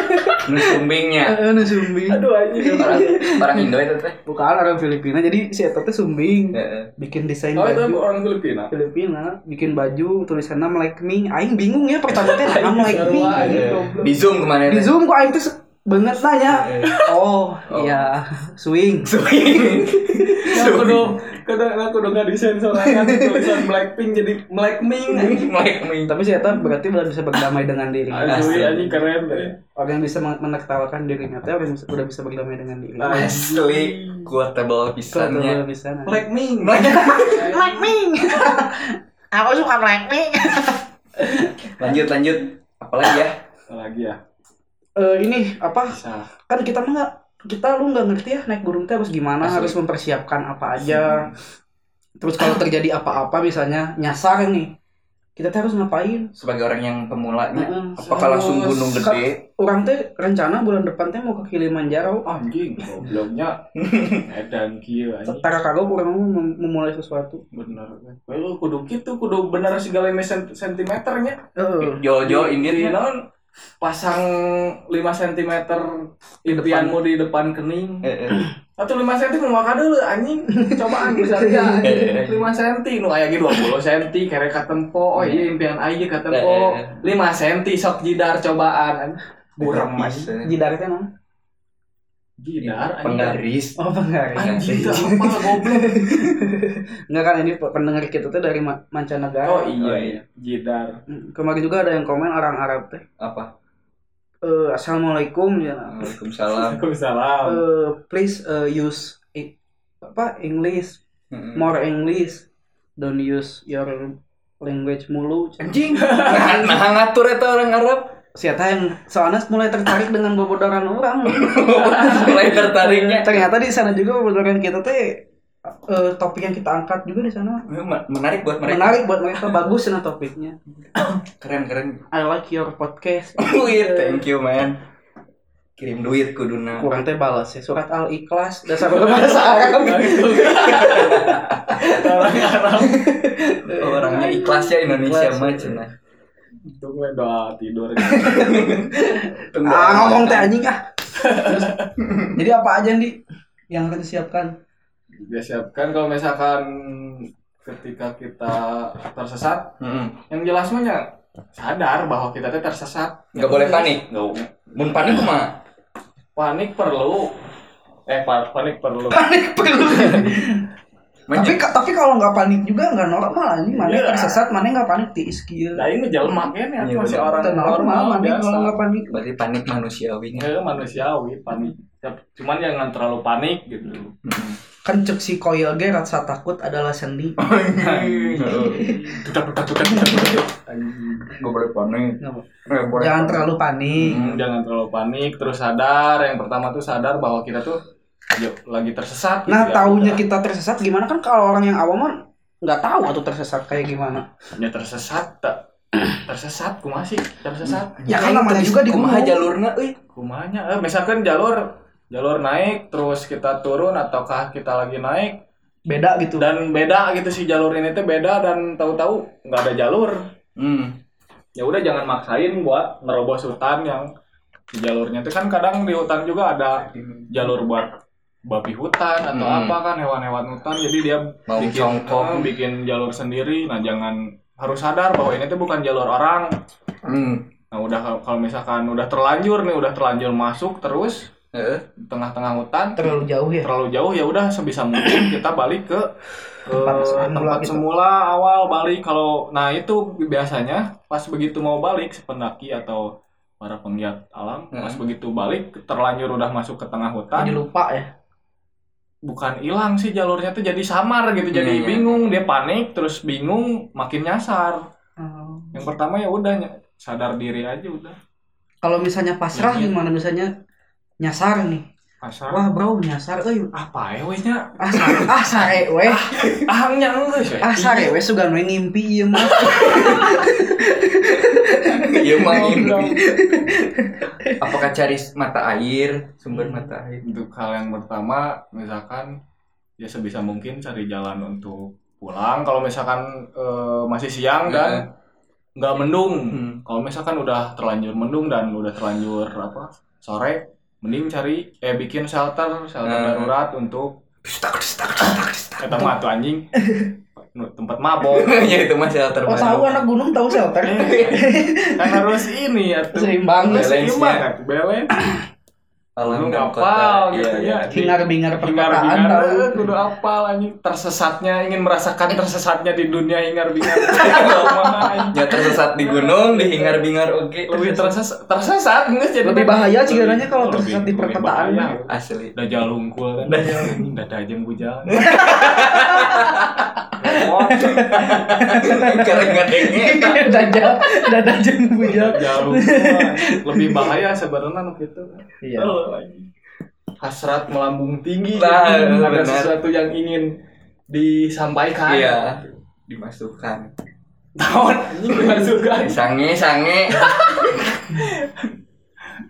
Speaker 2: nusumbingnya.
Speaker 1: eh, nu sumbing.
Speaker 3: aduh
Speaker 1: Iya.
Speaker 3: anjing
Speaker 2: Orang orang Indo itu teh.
Speaker 1: Bukan orang Filipina, jadi si Eta teh sumbing.
Speaker 2: Heeh.
Speaker 1: Bikin desain
Speaker 3: Ya. oh itu
Speaker 1: baju
Speaker 3: orang Filipina
Speaker 1: Filipina, bikin baju tulisannya Like Me. Aing bingung ya pertama teh nama Like Me.
Speaker 3: Sarua, anjing,
Speaker 2: Iya.
Speaker 3: goblok.
Speaker 2: Di Zoom kemana
Speaker 1: Di
Speaker 2: teh?
Speaker 1: Zoom kok aing tuh se- banget nanya.
Speaker 3: Ya,
Speaker 2: Heeh.
Speaker 1: Oh, iya, swing.
Speaker 2: Swing.
Speaker 3: Nah, kudu kudu nah, kudu nggak disensor aja tulisan Blackpink jadi Blackming
Speaker 2: Like me.
Speaker 1: Tapi si Eta berarti udah bisa berdamai dengan dirinya.
Speaker 3: aduh anjing keren deh
Speaker 1: Orang yang bisa men- menertawakan dirinya teh orang yang bisa- udah bisa berdamai dengan dirinya.
Speaker 2: Asli quotable
Speaker 1: Suatu
Speaker 2: pisannya.
Speaker 1: bisa nanya.
Speaker 2: Like me. Lanjut
Speaker 1: Like Me. Aku suka Like Me.
Speaker 2: lanjut. Apalagi ya?
Speaker 3: Apa lagi ya
Speaker 1: eh, ini apa
Speaker 5: bisa
Speaker 1: kan kita mah nggak kita lu nggak ngerti ya naik gunung teh harus gimana
Speaker 5: Asli.
Speaker 1: harus mempersiapkan apa aja terus kalau terjadi apa-apa misalnya nyasar nih kita teh harus ngapain
Speaker 2: sebagai orang yang pemulanya
Speaker 1: Heeh.
Speaker 2: apakah langsung
Speaker 5: Serius?
Speaker 2: gunung gede
Speaker 1: orang teh rencana bulan depan teh mau ke Kilimanjaro Ah,
Speaker 5: anjing gobloknya edan kieu anjing
Speaker 1: Tara kagok orang mau mem- memulai sesuatu
Speaker 5: bener weh.
Speaker 4: Wah, lu kudu gitu, kudu bener segala mesen- sentimeternya.
Speaker 1: Heeh.
Speaker 2: jojo
Speaker 4: Di
Speaker 2: ini
Speaker 1: Iya,
Speaker 4: naon? Pasang 5 cm impianmu di depan kening.
Speaker 2: Eh.
Speaker 4: Atau 5 cm mau makan dulu anjing. Cobaan bisa ya.
Speaker 2: Eh,
Speaker 4: 5 cm nu aya ge 20 cm kere katempo. Oh iya impian aja
Speaker 2: Eh,
Speaker 4: katempo. 5 cm sok jidar cobaan. Buram mas.
Speaker 2: ya.
Speaker 1: jidar teh naon
Speaker 2: Iya,
Speaker 4: Jidar anjing.
Speaker 2: penggaris
Speaker 1: oh penggaris
Speaker 4: Anjing itu apa goblok.
Speaker 1: Enggak kan ini pendengar kita tuh dari ma- mancanegara.
Speaker 2: Oh,
Speaker 4: Oh iya,
Speaker 2: iya.
Speaker 4: jidar.
Speaker 1: Mm, Kemarin juga ada yang komen orang Arab teh.
Speaker 2: apa
Speaker 1: eh, assalamualaikum ya.
Speaker 2: Waalaikumsalam
Speaker 4: Waalaikumsalam.
Speaker 1: Eh, please eh, use i- apa English, more English. Don't use your language mulu.
Speaker 2: anjing nah, nah ngatur eta orang Arab
Speaker 1: Siapa yang soalnya mulai tertarik dengan bobodoran orang.
Speaker 2: mulai tertariknya
Speaker 1: Ternyata di sana juga bobodoran kita teh eh, topik yang kita angkat juga di sana
Speaker 2: menarik buat mereka
Speaker 1: menarik buat mereka bagus sana topiknya.
Speaker 2: keren keren
Speaker 1: I like your podcast.
Speaker 2: duit thank you man kirim duit kuduna
Speaker 1: kurang teh balas ya surat al ikhlas dasar bahasa Arab
Speaker 4: Orang Arab.
Speaker 2: orangnya ikhlas ya Indonesia
Speaker 1: Ikhlas.
Speaker 2: mah cenah
Speaker 4: Untung gue doa tidur.
Speaker 1: ah
Speaker 2: gitu.
Speaker 1: ngomong teh anjing ah Terus, jadi apa aja nih yang akan disiapkan
Speaker 4: Juga siapkan Kan kalau misalkan ketika kita tersesat,
Speaker 2: Heeh.
Speaker 4: yang jelas mah nya sadar bahwa kita teh tersesat.
Speaker 2: nggak boleh panik
Speaker 4: Nggak
Speaker 2: mun panik mah
Speaker 4: panik perlu. Eh pa- panik perlu.
Speaker 1: panik perlu tapi
Speaker 2: Menjek-
Speaker 1: ka- tapi kalau nggak panik juga nggak normal anjing mana
Speaker 4: Iya.
Speaker 1: tersesat mana nggak panik tiis kieu
Speaker 4: Nah ini jelema kayaknya
Speaker 2: Iya,
Speaker 4: masih
Speaker 2: benar.
Speaker 4: orang
Speaker 1: Teu normal
Speaker 4: normal
Speaker 1: mana kalau
Speaker 4: biasa.
Speaker 1: nggak panik
Speaker 2: berarti panik manusiawi
Speaker 4: Ya, manusiawi panik. Ya, Cuman jangan terlalu panik gitu.
Speaker 2: Hmm,
Speaker 1: kan cek si koil ge rasa takut adalah seni
Speaker 4: Tutak tutak tutak tutak, tutak.
Speaker 2: Gak boleh panik.
Speaker 1: Nggak apa.
Speaker 2: Eh, boleh
Speaker 1: jangan
Speaker 2: panik.
Speaker 1: terlalu panik
Speaker 2: Hmm.
Speaker 4: Jangan terlalu panik, terus sadar. Yang pertama tuh sadar bahwa kita tuh yuk, lagi tersesat. gitu
Speaker 1: nah
Speaker 4: ya.
Speaker 1: taunya kita tersesat gimana kan kalau orang yang awam kan nggak tahu atau tersesat kayak gimana
Speaker 4: Ya tersesat tak tersesat kumaha sih tersesat
Speaker 1: ya kan namanya juga di
Speaker 2: kumaha
Speaker 1: gunung.
Speaker 2: jalurna euy.
Speaker 4: kumanya eh, misalkan jalur jalur naik terus kita turun ataukah kita lagi naik
Speaker 1: beda gitu
Speaker 4: dan beda gitu sih jalur ini tuh beda dan tahu-tahu nggak ada jalur
Speaker 2: Hmm.
Speaker 4: ya udah jangan maksain buat nerobos hutan yang di jalurnya itu kan kadang di hutan juga ada jalur buat babi hutan atau
Speaker 2: Hmm.
Speaker 4: apa kan hewan-hewan hutan jadi dia
Speaker 2: Mau
Speaker 4: bikin
Speaker 2: congkok.
Speaker 4: eh, bikin jalur sendiri nah jangan harus sadar bahwa ini tuh bukan jalur orang
Speaker 2: Hmm.
Speaker 4: Nah udah kalau misalkan udah terlanjur nih, udah terlanjur masuk terus
Speaker 2: Heeh.
Speaker 4: di tengah-tengah hutan
Speaker 1: terlalu jauh ya
Speaker 4: terlalu jauh ya udah sebisa mungkin kita balik ke ke
Speaker 1: Tempat semula
Speaker 4: tempat
Speaker 1: gitu.
Speaker 4: semula awal balik kalau nah itu biasanya pas begitu mau balik si pendaki atau para penggiat alam
Speaker 2: Hmm.
Speaker 4: pas begitu balik terlanjur udah masuk ke tengah
Speaker 1: jadi
Speaker 4: hutan
Speaker 1: lupa ya
Speaker 4: bukan hilang sih jalurnya tuh jadi samar gitu jadi
Speaker 2: Iya, iya.
Speaker 4: bingung dia panik terus bingung makin nyasar yang pertama ya udah ny- sadar diri aja udah
Speaker 1: kalau misalnya pasrah
Speaker 4: Iya.
Speaker 1: gimana misalnya nyasar nih
Speaker 4: kasar
Speaker 1: wah bro nyasar euy
Speaker 4: apa ya weh nya
Speaker 1: ah sare ah sare weh
Speaker 4: ahangnya enggak sih
Speaker 1: ah sare
Speaker 4: iya.
Speaker 1: weh sugan we ngimpi ieu mah
Speaker 2: Iya mah ini. Apakah cari mata air, sumber mata air?
Speaker 4: Iya. untuk hal yang pertama misalkan ya sebisa mungkin cari jalan untuk pulang kalau misalkan eh, masih siang dan nggak mendung
Speaker 2: Hmm.
Speaker 4: kalau misalkan udah terlanjur mendung dan udah terlanjur apa sore mending cari eh bikin shelter shelter
Speaker 2: Hmm.
Speaker 4: darurat untuk
Speaker 2: Stak, stak, stak, stak.
Speaker 4: kata mah tuh anjing nu- tempat mabok
Speaker 2: Ya itu mah shelter Iya,
Speaker 1: oh tahu anak gunung tahu shelter
Speaker 4: kan harus ini ya
Speaker 1: Seimbang.
Speaker 4: seimbang atuh, balance
Speaker 2: Alam
Speaker 4: Gunung
Speaker 2: dan
Speaker 4: kapal
Speaker 2: kota.
Speaker 4: gitu
Speaker 2: Iya,
Speaker 4: ya.
Speaker 2: iya.
Speaker 1: hingar-bingar perkotaan
Speaker 4: hingar-bingar
Speaker 1: tahu
Speaker 4: eh, kudu apal anjing tersesatnya ingin merasakan
Speaker 2: Eh.
Speaker 4: tersesatnya di dunia hingar-bingar Kumaha,
Speaker 2: Ya
Speaker 4: anjing.
Speaker 2: tersesat di gunung, di hingar-bingar oke.
Speaker 4: lebih tersesat tersesat nggak jadi kan.
Speaker 1: Lebih bahaya sih
Speaker 4: Lebih-
Speaker 1: katanya kalau
Speaker 4: lebih-
Speaker 1: tersesat di
Speaker 4: lebih
Speaker 1: perkotaan.
Speaker 4: bahaya.
Speaker 2: Asli.
Speaker 4: udah jalan hungkul kan udah aja bujang Wah,
Speaker 2: Gara-gara
Speaker 1: dada dada jeung bujang
Speaker 2: Iya.
Speaker 4: jauh wah. lebih bahaya sebenarnya nu gitu
Speaker 1: iya
Speaker 4: hasrat melambung tinggi
Speaker 2: Nah,
Speaker 4: ingin
Speaker 2: benar.
Speaker 4: ada sesuatu yang ingin disampaikan
Speaker 2: Iya. Dimasukkan.
Speaker 4: tahun ini gak suka
Speaker 2: Sange, sange.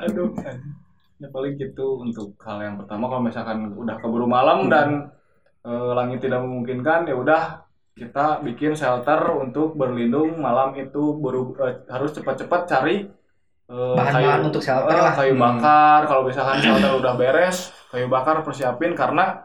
Speaker 4: aduh ya paling gitu untuk hal yang pertama kalau misalkan udah keburu malam dan eh, langit tidak memungkinkan ya udah kita bikin shelter untuk berlindung malam itu baru eh, harus cepat-cepat cari eh,
Speaker 1: bahan-bahan
Speaker 4: kayu-
Speaker 1: untuk shelter
Speaker 4: eh,
Speaker 1: lah
Speaker 4: kayu
Speaker 2: Hmm.
Speaker 4: bakar kalau misalkan shelter udah beres kayu bakar persiapin karena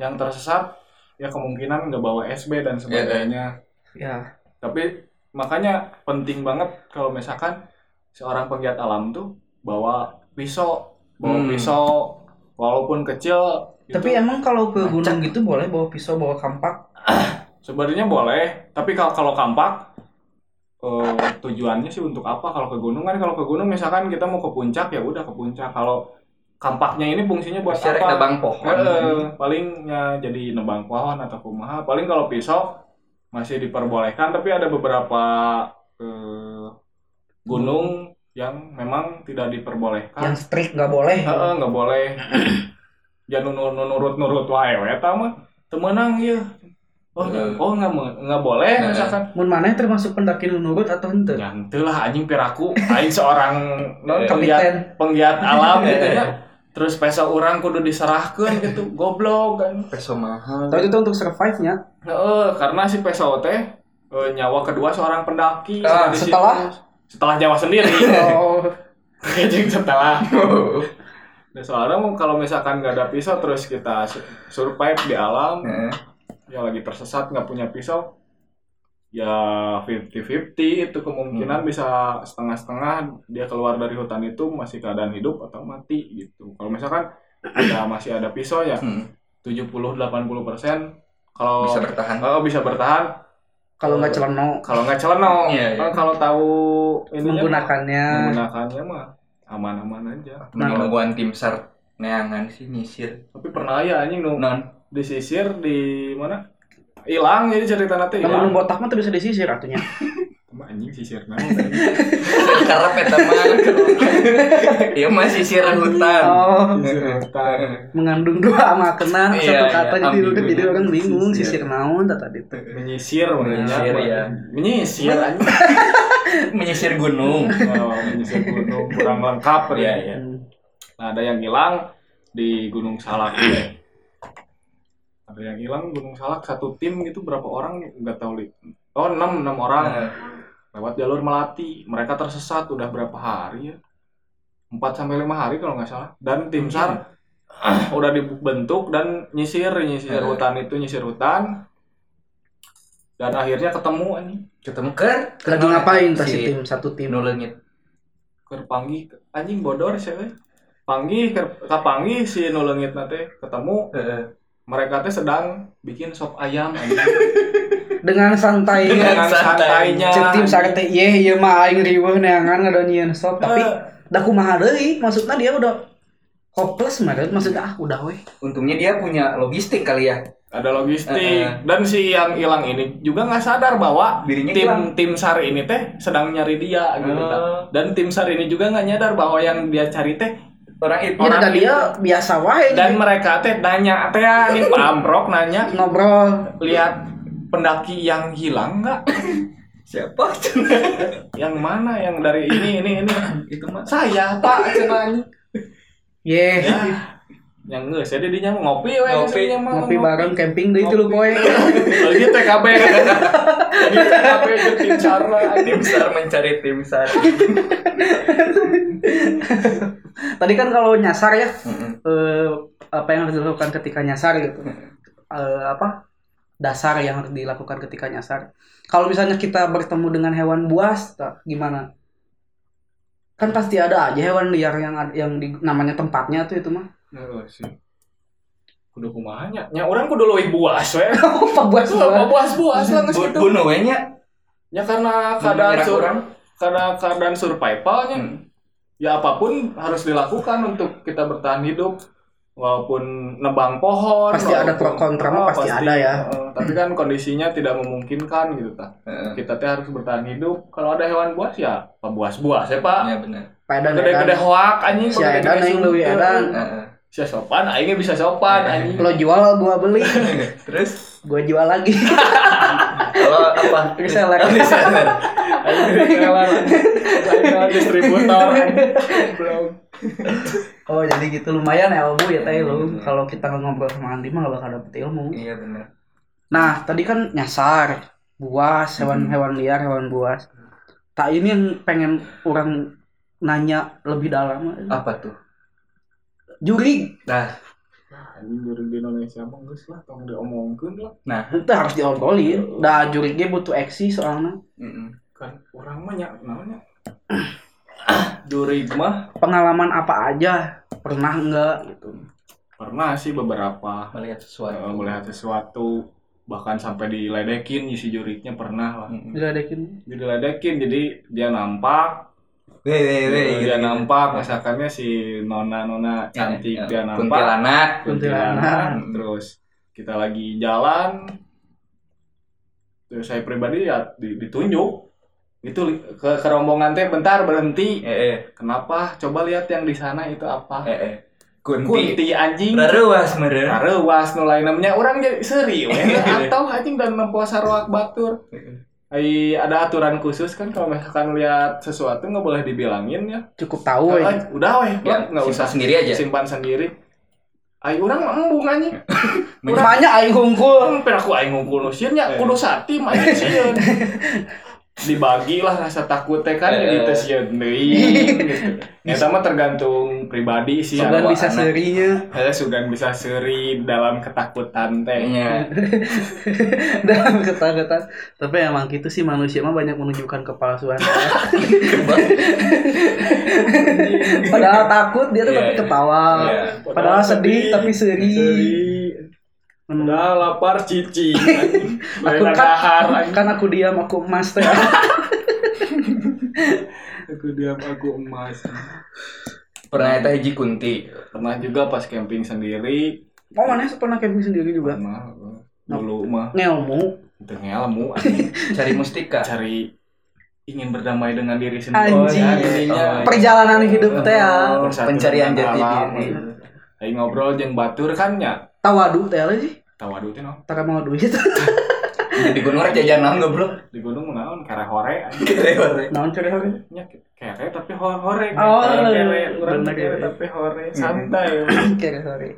Speaker 4: yang tersesat ya kemungkinan nggak bawa SB dan sebagainya
Speaker 1: ya
Speaker 4: tapi makanya penting banget kalau misalkan seorang penggiat alam tuh bawa pisau bawa
Speaker 2: Hmm.
Speaker 4: pisau walaupun kecil
Speaker 2: Gitu.
Speaker 4: gitu. itu
Speaker 1: tapi emang kalau ke gunung gitu boleh bawa pisau bawa kampak
Speaker 4: sebenarnya boleh tapi kalau kalau kampak eh, tujuannya sih untuk apa kalau ke gunung kan kalau ke gunung misalkan kita mau ke puncak ya udah ke puncak kalau kampaknya ini fungsinya buat
Speaker 2: Bisa rek
Speaker 4: apa
Speaker 2: nabang
Speaker 4: Eh,
Speaker 2: pohon.
Speaker 4: paling ya, jadi nebang pohon atau kumaha. Paling kalau pisau masih diperbolehkan, tapi ada beberapa eh, gunung yang memang
Speaker 1: yang
Speaker 4: tidak
Speaker 2: Ah.
Speaker 4: diperbolehkan.
Speaker 1: strict nggak boleh
Speaker 4: Heeh, nggak boleh. Jangan nu- nu- nurut nurut wae wae eta mah. Temenang ya. Oh,
Speaker 2: Heeh.
Speaker 4: oh nggak me- nggak boleh
Speaker 2: Heeh.
Speaker 4: misalkan.
Speaker 1: mun mana termasuk pendaki nunurut atau henteu
Speaker 4: Ya, henteu lah anjing piraku, aing seorang
Speaker 1: Eh.
Speaker 4: non penggiat
Speaker 1: kapiten
Speaker 4: penggiat alam gitu ya. Terus peso orang kudu diserahkan gitu, goblok kan.
Speaker 2: Peso mahal.
Speaker 1: tapi itu untuk survive nya
Speaker 4: Heeh, karena si Pesau teh eh, nyawa kedua seorang pendaki.
Speaker 2: Ah,
Speaker 4: Di situ-
Speaker 1: setelah?
Speaker 4: setelah Jawa sendiri.
Speaker 1: oh
Speaker 4: Anjing, setelah. Nah, soalnya mau- kalau misalkan nggak ada pisau terus kita su- survive di alam,
Speaker 2: Heeh.
Speaker 4: yang lagi tersesat nggak punya pisau, ya 50-50 itu
Speaker 2: Hmm.
Speaker 4: kemungkinan bisa setengah-setengah dia keluar dari hutan itu masih keadaan hidup atau mati gitu. Kalau misalkan ya masih ada pisau ya
Speaker 2: Hmm.
Speaker 4: 70-80% kalau
Speaker 2: Bisa bertahan.
Speaker 4: Oh, bisa bertahan
Speaker 1: kalau nggak celana
Speaker 4: kalau nggak celana
Speaker 2: Iya, iya.
Speaker 4: Oh, kalau tahu ininya mah,
Speaker 1: menggunakannya
Speaker 4: menggunakannya mah aman-aman aja
Speaker 2: Menungguan tim sar neangan sih nyisir.
Speaker 4: tapi pernah ya anjing nu
Speaker 2: Non.
Speaker 4: disisir di mana hilang jadi cerita nanti
Speaker 1: Nah, gunung
Speaker 4: hilang
Speaker 1: botak mah tuh bisa disisir atunya.
Speaker 4: Emang anjing sisir nama
Speaker 2: Karena peta mah. Iya mah sisir hutan.
Speaker 1: Oh,
Speaker 4: sisir hutan
Speaker 1: mengandung dua makna
Speaker 2: Iya,
Speaker 1: satu kata
Speaker 2: iya,
Speaker 1: jadi udah jadi
Speaker 2: ambigunya.
Speaker 1: orang bingung
Speaker 2: Sisir.
Speaker 1: sisir naon tah tadi tuh.
Speaker 4: menyisir makanya.
Speaker 2: Menyisir, ya.
Speaker 4: menyisir anjing
Speaker 2: Menyisir gunung.
Speaker 4: Oh, menyisir gunung kurang lengkap
Speaker 2: Iya,
Speaker 4: ya.
Speaker 2: iya.
Speaker 1: Hmm.
Speaker 4: Nah, ada yang hilang di Gunung Salak. ada yang hilang Gunung Salak satu tim gitu berapa orang nggak tahu li. Oh, 6 enam orang lewat jalur Melati. Mereka tersesat udah berapa hari ya? 4 sampai 5 hari kalau nggak salah.
Speaker 2: Iya.
Speaker 4: Dan tim SAR udah dibentuk dan nyisir nyisir
Speaker 2: Eh.
Speaker 4: hutan itu nyisir hutan. Dan akhirnya ketemu ini
Speaker 2: Ketemu ker.
Speaker 1: Lagi ngapain tah si tim satu tim?
Speaker 2: Nulengit.
Speaker 4: keur panggih anjing bodor sih we. Panggih keur kapanggih si nu leungitna teh ketemu
Speaker 2: Eh,
Speaker 4: mereka teh sedang bikin sop ayam anjing.
Speaker 1: Dengan santai
Speaker 4: dengan
Speaker 2: Iya, santai.
Speaker 4: santainya
Speaker 1: si tim
Speaker 4: anjing.
Speaker 1: sarete ye ieu mah aing riweuh neangan ngadonnyieun sop tapi
Speaker 4: Eh,
Speaker 1: da kumaha deui maksudnya dia udah hopeless mah deui. maksudnya ah udah weh
Speaker 2: Untungnya dia punya logistik kali ya.
Speaker 4: ada logistik
Speaker 2: Eh, eh.
Speaker 4: dan si yang hilang ini juga nggak sadar bahwa
Speaker 2: Dirinya
Speaker 4: tim
Speaker 2: hilang.
Speaker 4: tim sar ini teh sedang nyari dia gitu
Speaker 2: Eh.
Speaker 4: dan tim sar ini juga nggak nyadar bahwa yang dia cari teh
Speaker 2: Orang itu.
Speaker 1: ya
Speaker 4: Orang
Speaker 1: da dia biasa wae
Speaker 2: Eh,
Speaker 4: dan
Speaker 2: iya.
Speaker 4: mereka teh nanya teh nih Pak Amrok nanya
Speaker 1: ngobrol
Speaker 4: lihat pendaki yang hilang nggak
Speaker 2: Siapa?
Speaker 4: yang mana yang dari ini ini ini
Speaker 2: itu mah.
Speaker 4: saya pak cuman
Speaker 1: ye
Speaker 4: ya yang nggak saya didinya mau ngopi we
Speaker 2: Ngopi.
Speaker 4: saya mah
Speaker 1: ngopi bareng camping deui tilu poe
Speaker 4: lagi TKB lagi TKB ke tim Sarna anjing.
Speaker 2: Tim sar mencari tim sar.
Speaker 1: tadi kan kalau nyasar ya
Speaker 2: Heeh.
Speaker 1: eh, apa yang harus dilakukan ketika nyasar gitu Eh, apa dasar yang harus dilakukan ketika nyasar kalau misalnya kita bertemu dengan hewan buas ta, gimana kan pasti ada aja hewan liar yang ad- yang di- namanya tempatnya tuh itu mah
Speaker 4: Heeh, sih. kudu kumahanya nya orang kudu leuwih buas we
Speaker 1: apa buas
Speaker 4: Loba
Speaker 1: buas
Speaker 4: buas buas lah geus
Speaker 2: Bu-
Speaker 4: kitu
Speaker 2: Bunuh we nya.
Speaker 4: ya karena keadaan
Speaker 2: Menyerang
Speaker 4: sur
Speaker 2: orang.
Speaker 4: karena keadaan survivalnya
Speaker 2: Hmm.
Speaker 4: ya apapun harus dilakukan untuk kita bertahan hidup walaupun nebang pohon
Speaker 1: Pasti ada pro kontra mah
Speaker 4: Ah,
Speaker 1: pasti ada ya.
Speaker 4: eh, tapi kan kondisinya tidak memungkinkan gitu ta
Speaker 2: Heeh.
Speaker 4: kita teh harus bertahan hidup kalau ada hewan buas ya buas buas ya pak
Speaker 2: Iya benar.
Speaker 1: Paedan
Speaker 4: gede-gede
Speaker 1: edan.
Speaker 4: hoak anjing
Speaker 1: ya kan. Si
Speaker 4: pakai
Speaker 1: edan
Speaker 4: gede
Speaker 1: yang
Speaker 4: sungkeun.
Speaker 1: lebih edan.
Speaker 2: Heeh.
Speaker 4: Sia sopan aingnya bisa sopan anjing
Speaker 1: Lo jual gua beli,
Speaker 2: Terus
Speaker 1: gua jual lagi.
Speaker 2: kalau apa?
Speaker 1: Reseller.
Speaker 2: Reseller.
Speaker 4: aing jadi relawan aing relawan distributor anjing. Belum.
Speaker 1: Oh jadi gitu lumayan ilmu ya teh lu. Kalau kita nggak ngobrol sama Andi mah nggak bakal dapet ilmu.
Speaker 2: Iya benar.
Speaker 1: Nah tadi kan nyasar, buas, hewan-hewan liar, hewan buas. Tak ini yang pengen orang nanya lebih dalam.
Speaker 2: Apa tuh?
Speaker 1: Juri,
Speaker 2: Nah,
Speaker 4: anjing juru di Indonesia mah geus lah tong diomongkeun lah
Speaker 2: nah.
Speaker 1: itu harus diobrolin. Dah juri dia butuh eksi soalnya.
Speaker 2: mm-mm.
Speaker 4: kan orang mah nya naonnya jurig mah
Speaker 1: Pengalaman apa aja pernah nggak gitu?
Speaker 4: pernah sih beberapa
Speaker 2: melihat sesuatu.
Speaker 4: eh, melihat sesuatu bahkan sampai diledekin si juriknya pernah lah
Speaker 2: Mm-mm.
Speaker 1: Diledekin.
Speaker 4: diledekin jadi dia nampak
Speaker 2: Weh weh weh.
Speaker 4: eh,
Speaker 2: gitu,
Speaker 4: dia
Speaker 2: gitu.
Speaker 4: nampak masakannya si nona nona
Speaker 2: Ya,
Speaker 4: cantik
Speaker 2: ya.
Speaker 4: dia nampak
Speaker 2: Kuntilanak.
Speaker 1: Kuntilanak.
Speaker 4: kuntilanak terus kita lagi jalan terus saya pribadi ya di- ditunjuk itu li- ke, ke rombongan teh bentar berhenti
Speaker 2: Eh eh
Speaker 4: kenapa coba lihat yang di sana itu apa
Speaker 2: eh eh. Kunti.
Speaker 4: kunti anjing
Speaker 2: Raruas meureun.
Speaker 4: Arewas nu namanya orang jadi seri we. atau anjing dan mempuasa roak batur. Ai ada aturan khusus kan kalau misalkan lihat sesuatu nggak boleh dibilangin ya.
Speaker 1: Cukup tahu
Speaker 4: Ah,
Speaker 1: ya.
Speaker 4: udah weh,
Speaker 2: Ya,
Speaker 4: nggak
Speaker 2: simpan
Speaker 4: usah
Speaker 2: sendiri aja.
Speaker 4: Simpan sendiri. Ai urang mah embung anjing.
Speaker 1: Banyak aing hungkul.
Speaker 4: Pun aku aing ngumpul nu sieun nya kudu sati mah anjing sieun. Dibagilah rasa takut teh kan jadi teh sieun deui gitu. Eta mah tergantung pribadi
Speaker 2: Iya,
Speaker 4: sih.
Speaker 1: Sugan
Speaker 4: anu
Speaker 1: bisa
Speaker 2: anak.
Speaker 1: serinya
Speaker 4: Ada sugan bisa seri dalam ketakutan teh.
Speaker 2: Iya.
Speaker 1: dalam kata-kata. Tapi emang gitu sih manusia mah banyak menunjukkan kepalsuan. Padahal takut dia tuh
Speaker 2: Iya,
Speaker 1: tapi
Speaker 2: iya.
Speaker 1: ketawa.
Speaker 4: Ya.
Speaker 2: Iya.
Speaker 1: Padahal sedih tapi seri. Hmm.
Speaker 4: Udah lapar cici.
Speaker 1: Aku
Speaker 4: Aku
Speaker 1: kan,
Speaker 4: dahar.
Speaker 1: kan aku diam aku emas teh.
Speaker 4: Aku diam aku emas.
Speaker 2: Pernah eta hiji kunti.
Speaker 4: Pernah juga pas camping sendiri.
Speaker 1: Oh mana sih pernah camping sendiri juga?
Speaker 4: Pernah. Dulu mah
Speaker 1: Ngelmu.
Speaker 4: itu ngelmu anjing.
Speaker 2: Cari mustika.
Speaker 4: cari ingin berdamai dengan diri
Speaker 1: Anjing.
Speaker 4: sendiri. Ya, dirinya.
Speaker 2: Oh.
Speaker 1: Perjalanan hidup teh ya.
Speaker 4: Bersatu
Speaker 2: Pencarian
Speaker 4: dengan
Speaker 2: jati
Speaker 4: alam.
Speaker 2: diri.
Speaker 4: Aing ngobrol jeung batur kan nya.
Speaker 1: Tawadu teh lah sih.
Speaker 4: Tawadu teh naon?
Speaker 1: Tak mau duit.
Speaker 2: Jadi gunung rek jajan naon goblok.
Speaker 4: Di gunung naon karehore anjing.
Speaker 1: Naon cari hari?
Speaker 4: nya kere tapi hore
Speaker 1: Oh,
Speaker 4: kere urang
Speaker 1: bener,
Speaker 4: kere
Speaker 1: ya.
Speaker 4: tapi hore santai ya.
Speaker 1: Cari hari.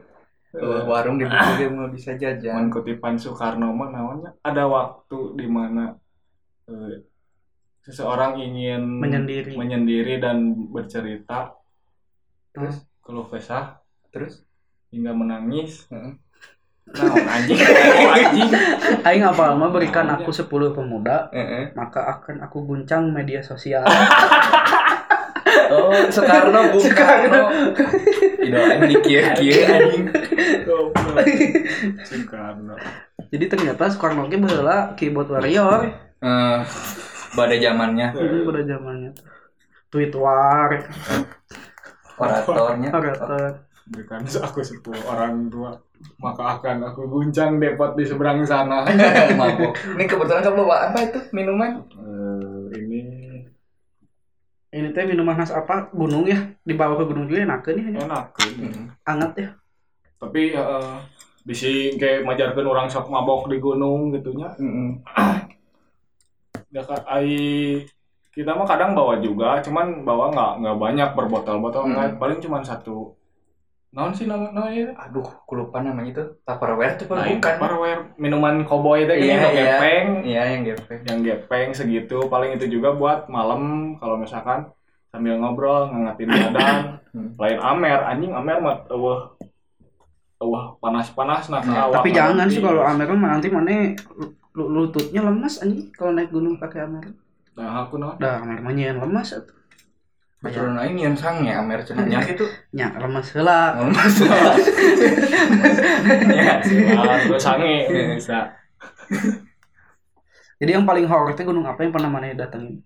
Speaker 2: Iya. Wah, warung di Bogor dia mah bisa jajan.
Speaker 4: mengutipan Soekarno mah naonnya ada waktu di mana eh, seseorang ingin
Speaker 1: Menyendiri.
Speaker 4: menyendiri dan bercerita
Speaker 1: Terus?
Speaker 4: terus keluh kesah
Speaker 2: Terus
Speaker 4: hingga menangis
Speaker 2: Heeh.
Speaker 4: naon anjing naon anjing
Speaker 1: Aing apa mah berikan aku 10 pemuda
Speaker 2: Heeh.
Speaker 1: maka akan aku guncang media sosial.
Speaker 2: Oh, Soekarno Bung
Speaker 1: Soekarno.
Speaker 2: Karno. Idolan di kieu-kieu
Speaker 4: iya,
Speaker 2: anjing.
Speaker 4: Goblok. Soekarno
Speaker 1: Jadi ternyata Soekarno ge baheula keyboard warrior
Speaker 2: Eh, pada zamannya
Speaker 1: ini pada zamannya. Tweet war,
Speaker 2: oratornya
Speaker 1: karakter.
Speaker 4: berikan aku sepuluh orang tua maka akan aku guncang depot di seberang sana
Speaker 2: mabok. Ini kebetulan kamu bawa apa itu minuman?
Speaker 4: Eh, ini
Speaker 1: Ini teh minuman khas apa? Gunung ya. Dibawa ke gunung juga enakeun ya.
Speaker 4: enak
Speaker 1: Anget ya.
Speaker 4: tapi eh, bisi kayak majarkan orang sok mabok di gunung gitunya
Speaker 2: Heeh.
Speaker 4: ya ka- ai kita mah kadang bawa juga cuman bawa nggak nggak banyak berbotol-botol
Speaker 2: Hmm.
Speaker 4: nggak paling cuman satu naon sih nama naon ya
Speaker 2: Aduh, aku lupa namanya itu. Tupperware tuh
Speaker 4: nah,
Speaker 2: bukan.
Speaker 4: Tupperware minuman koboi
Speaker 2: Iya,
Speaker 4: teh kan yang
Speaker 2: iya.
Speaker 4: gepeng
Speaker 2: Iya, yang gepeng.
Speaker 4: yang gepeng segitu paling itu juga buat malam kalau misalkan sambil ngobrol ngangetin badan
Speaker 2: Hmm.
Speaker 4: lain amer anjing amer mah wah wah panas-panas nah
Speaker 2: Nah,
Speaker 1: Iya, Tapi jangan sih kalau Amer mah nanti mana lu- lu- lututnya lemas anjing kalau naik gunung pakai Amer.
Speaker 4: nah aku naon
Speaker 1: Dah Amer mah nyeun lemas atuh.
Speaker 2: Kebetulan aing nyeun sangnya Amer cenah nyakit tuh.
Speaker 1: Nya lemas heula.
Speaker 2: Ngomong masalah. Ya.
Speaker 4: Wah, gue sange bisa
Speaker 1: Jadi yang paling horor teh gunung apa yang pernah mana datengin?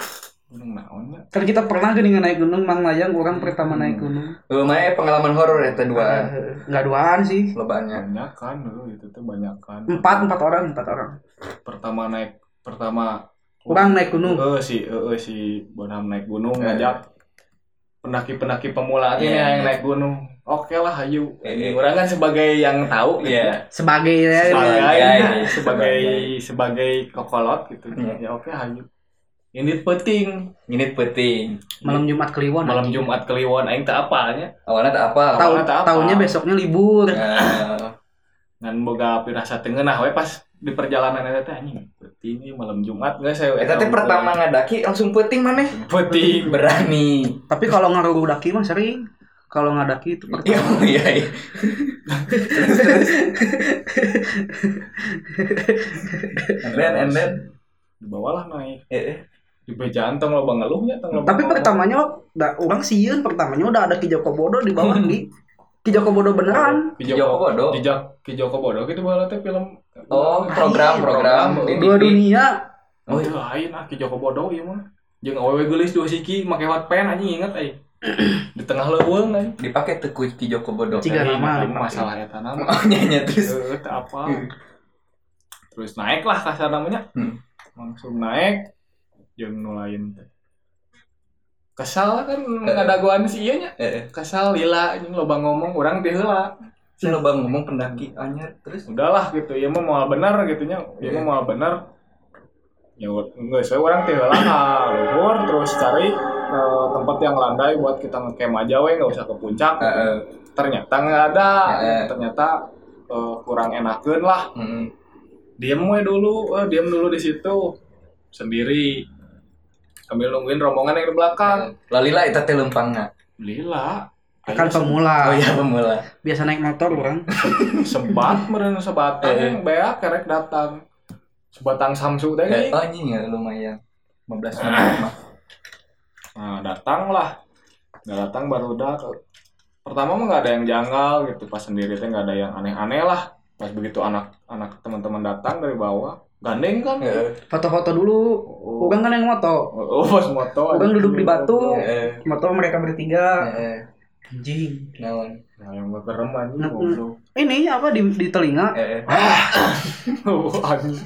Speaker 4: gunung naonnya
Speaker 1: Kan kita pernah geuningan naik gunung, Mang Layang orang pertama
Speaker 4: Hmm.
Speaker 1: naik gunung.
Speaker 2: Lumayan pengalaman horor ya dua
Speaker 1: Enggak duaan sih.
Speaker 2: lobanya.
Speaker 4: banyak kan dulu itu tuh banyak kan
Speaker 1: Ya. Empat, empat orang, empat orang.
Speaker 4: pertama naik pertama
Speaker 1: Orang naik gunung.
Speaker 4: eh si eh eh, si Bonham naik gunung
Speaker 2: Eh.
Speaker 4: ngajak pendaki-pendaki pemula aja
Speaker 2: Iya,
Speaker 4: yang
Speaker 2: iya.
Speaker 4: naik gunung oke lah ayo
Speaker 2: Iya,
Speaker 4: ini
Speaker 2: iya.
Speaker 4: orang kan sebagai yang tahu gitu ya.
Speaker 2: Iya.
Speaker 1: Sebagai ya.
Speaker 4: sebagai
Speaker 2: Sebagai,
Speaker 4: sebagai
Speaker 2: sebagai.
Speaker 4: sebagai kokolot gitu
Speaker 2: Iya.
Speaker 4: ya oke ayo ini penting
Speaker 2: Ini penting.
Speaker 1: Malam Jumat Kliwon.
Speaker 4: malam Jumat Kliwon aing teu apalnya
Speaker 2: Awalnya tak apa.
Speaker 1: Tahu
Speaker 4: Malam tak apa.
Speaker 1: tahunya besoknya libur.
Speaker 2: Nah,
Speaker 4: ngan boga pirasa teu ngeunah we pas di perjalanan eta teh anjing penting ini malam Jumat geus saya
Speaker 2: Eta teh pertama ngadaki langsung penting maneh.
Speaker 4: penting
Speaker 2: Berani.
Speaker 1: Tapi kalau ngaruh daki mah sering. Kalau ngadaki itu
Speaker 2: Iya,
Speaker 1: pertama.
Speaker 2: iya, iya. And then, and then.
Speaker 4: dibawalah naik
Speaker 2: Eh, eh.
Speaker 4: di bejaan tong loba ngeluhnya tong loba
Speaker 1: Tapi
Speaker 4: ngomong.
Speaker 1: pertamanya da, orang sieun pertamanya udah ada Ki Joko Bodo di bawah di Ki Joko Bodo beneran.
Speaker 4: Ki
Speaker 2: Joko Bodo.
Speaker 4: Jejak Ki Joko Bodo gitu bahala teh film.
Speaker 2: Oh, program, program.
Speaker 4: Program.
Speaker 2: Di-
Speaker 1: Dua
Speaker 2: di-
Speaker 1: dunia
Speaker 4: Oh, itu lain ah Ki Joko Bodo ieu mah. Jeung awewe geulis dua siki make hotpen anjing inget ai. Di tengah leuweung ai.
Speaker 2: Dipakai tuh ku Ki Joko Bodo.
Speaker 1: Ciga
Speaker 4: Eh,
Speaker 1: nama
Speaker 4: eta mah masalah eta nama.
Speaker 2: Oh, nyanyi terus.
Speaker 4: Eh, Eta apa?
Speaker 2: Hmm.
Speaker 4: Terus naik lah kasar namanya.
Speaker 2: Hmm.
Speaker 4: Langsung naik jeung nu lain teh. Kesal kan ngadaguan si ieu nya.
Speaker 2: Eh, eh.
Speaker 4: Kesal lila anjing loba ngomong urang teh heula.
Speaker 2: Si Lobang ngomong pendaki anyar terus.
Speaker 4: udahlah gitu ya mah moal benar gitu nya ya mah moal benar ya u- enggak saya orang teh lah luhur terus cari eh, tempat yang landai buat kita ngecamp aja we nggak usah ke puncak
Speaker 2: Eh,
Speaker 4: gitu.
Speaker 2: eh.
Speaker 4: ternyata nggak ada ya,
Speaker 2: Heeh.
Speaker 4: ternyata eh, kurang enakeun lah
Speaker 2: Mm-mm.
Speaker 4: diem we dulu eh, diem dulu di situ sendiri sambil nungguin rombongan yang di belakang
Speaker 2: Iya. Lalila itu teh lempangna.
Speaker 4: lila
Speaker 1: kan pemula.
Speaker 2: Oh iya pemula.
Speaker 1: Biasa naik motor orang.
Speaker 4: sebat meren sebatang
Speaker 2: Heeh.
Speaker 4: yang beak kerek datang sebatang samsu teh
Speaker 2: Eh,
Speaker 4: geuning.
Speaker 2: oh, anjing ya lumayan. 15 menit mah.
Speaker 4: Nah, datanglah. Nggak datang baru udah ke- Pertama mah nggak ada yang janggal gitu. Pas sendiri teh nggak ada yang aneh-aneh lah. Pas begitu anak-anak teman-teman datang dari bawah, gandeng kan.
Speaker 2: Heeh.
Speaker 1: Foto-foto dulu.
Speaker 4: Oh,
Speaker 1: Orang kan yang moto.
Speaker 4: oh, pas moto.
Speaker 1: Orang duduk di batu.
Speaker 2: Heeh.
Speaker 1: Moto mereka bertiga.
Speaker 2: Heeh.
Speaker 1: Anjing.
Speaker 2: Naon?
Speaker 4: Nah, yang berkerem anjing
Speaker 1: Nah,
Speaker 4: goblok.
Speaker 1: Ini apa di, di telinga?
Speaker 2: Heeh.
Speaker 4: Oh, anjing.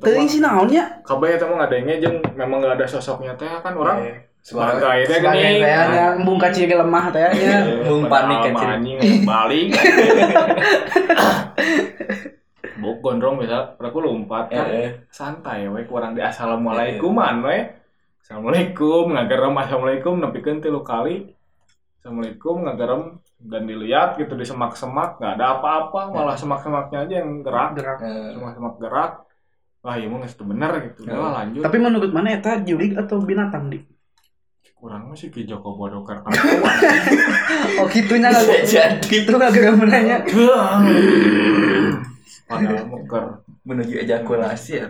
Speaker 1: Teuing si ya? naonnya?
Speaker 4: Kabeh eta mah ngadengnya jeung memang nggak ada sosoknya teh kan orang
Speaker 2: Eh, Suara
Speaker 4: sebagai teh
Speaker 1: Sebagai
Speaker 4: geuning.
Speaker 2: Ya,
Speaker 1: kayaknya embung kaci ge lemah ya. kayaknya.
Speaker 4: Eh,
Speaker 2: Bung
Speaker 4: padahal
Speaker 2: panik
Speaker 4: mah
Speaker 2: kecil.
Speaker 4: anjing balik. Bok gondrong bisa, aku lompat kan.
Speaker 2: Heeh.
Speaker 4: santai we kurang di assalamualaikum
Speaker 1: Iya,
Speaker 4: we assalamualaikum ngagerem assalamualaikum nepikeun tilu kali assalamualaikum ngagerem dan dilihat gitu di semak-semak nggak ada
Speaker 1: Iya.
Speaker 4: apa-apa malah semak-semaknya aja yang gerak
Speaker 1: Gerak.
Speaker 2: Eh,
Speaker 4: semak-semak gerak wah iya mah itu bener gitu
Speaker 2: Ya.
Speaker 4: Udah, lanjut
Speaker 1: Tapi menurut mana eta jurik atau binatang di?
Speaker 4: kurang masih ke Joko kan. Bodo karena
Speaker 1: Oh gitunya
Speaker 2: Bisa
Speaker 1: nggak
Speaker 2: jadi
Speaker 1: Itu Gitu nggak gerak menanya.
Speaker 4: padahal meker
Speaker 2: menuju ejakulasi ya.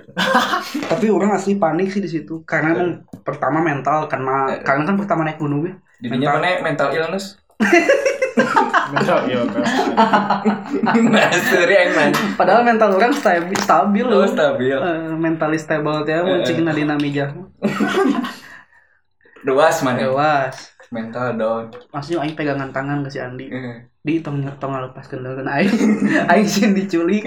Speaker 1: Tapi orang asli panik sih di situ karena emang pertama mental karena karena kan pertama naik gunung ya.
Speaker 2: Didinya
Speaker 1: Mental.
Speaker 2: mana mental illness?
Speaker 4: Nggak, iya, nggak.
Speaker 2: Nah, sorry aing mah.
Speaker 1: Padahal mental orang stabil stabil Iya,
Speaker 2: Lu
Speaker 1: loh.
Speaker 2: stabil.
Speaker 1: Eh, mentally stable teh mun cing na dina mijah.
Speaker 2: Luas mana?
Speaker 1: Dewas.
Speaker 2: Mental down.
Speaker 1: Maksudnya aing pegangan tangan ke si Andi.
Speaker 2: Heeh.
Speaker 1: Di tong tong lepas kendalian aing. aing sih diculik.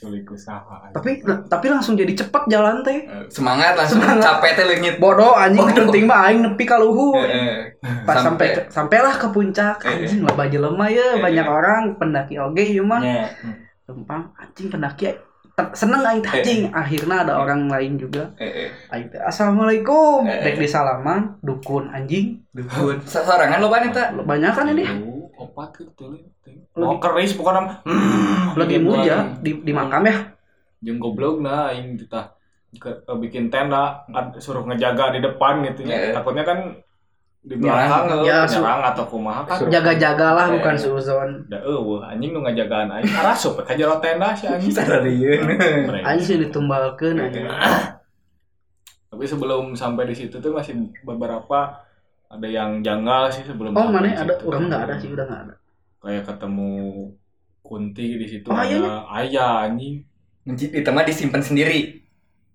Speaker 4: culik usaha
Speaker 1: tapi tapi langsung jadi cepat jalan teh.
Speaker 2: eh, Semangat langsung capek teh leungit.
Speaker 1: Bodoh anjing penting mah aing nepi ka luhur.
Speaker 2: Heeh.
Speaker 1: Pas sampai Iya, ke- sampailah ke puncak.
Speaker 2: Eh, eh.
Speaker 1: Anjing lah baju lemah ya
Speaker 2: Eh,
Speaker 1: banyak
Speaker 2: eh.
Speaker 1: orang pendaki oge ieu mah.
Speaker 2: Nya.
Speaker 1: Lempang anjing pendaki Te- seneng aing
Speaker 2: Eh.
Speaker 1: teh, anjing akhirnya ada orang lain juga
Speaker 2: Heeh.
Speaker 1: aing teh, assalamualaikum
Speaker 2: Eh.
Speaker 1: dek di salaman dukun anjing
Speaker 2: Dukun. Sasorangan loba eta.
Speaker 1: banyak kan ini
Speaker 4: Aduh, opat gitu mau keris pokoknya hmm,
Speaker 1: lebih
Speaker 4: gitu, anjing.
Speaker 1: muda di, di makam ya
Speaker 4: jeung goblok nah aing kita ke, eh, bikin tenda ad- suruh ngejaga di depan gitu ya
Speaker 2: Iya.
Speaker 4: takutnya kan di
Speaker 2: Nyerang.
Speaker 4: belakang eh,
Speaker 1: Ya, su-
Speaker 4: nyerang atau kumaha kan
Speaker 2: Suruh.
Speaker 1: jaga-jagalah
Speaker 2: Eh.
Speaker 1: bukan suzon
Speaker 4: da eueuh anjing nu ngajagaan aing arasup ka jero tenda si anjing
Speaker 2: iya. Sarariun.
Speaker 1: anjing
Speaker 4: Brengsek.
Speaker 1: sih gitu.
Speaker 2: Eh.
Speaker 1: ditumbalkeun anjing
Speaker 4: tapi sebelum sampai di situ tuh masih beberapa ada yang janggal sih sebelum
Speaker 1: oh
Speaker 4: sampai
Speaker 1: mana
Speaker 4: di
Speaker 1: ada
Speaker 4: situ.
Speaker 1: orang nggak ada sih udah nggak ada
Speaker 4: kayak ketemu kunti di situ
Speaker 1: Oh,
Speaker 4: ada
Speaker 1: iya,
Speaker 4: ayah anjing
Speaker 2: Di tempat disimpan sendiri.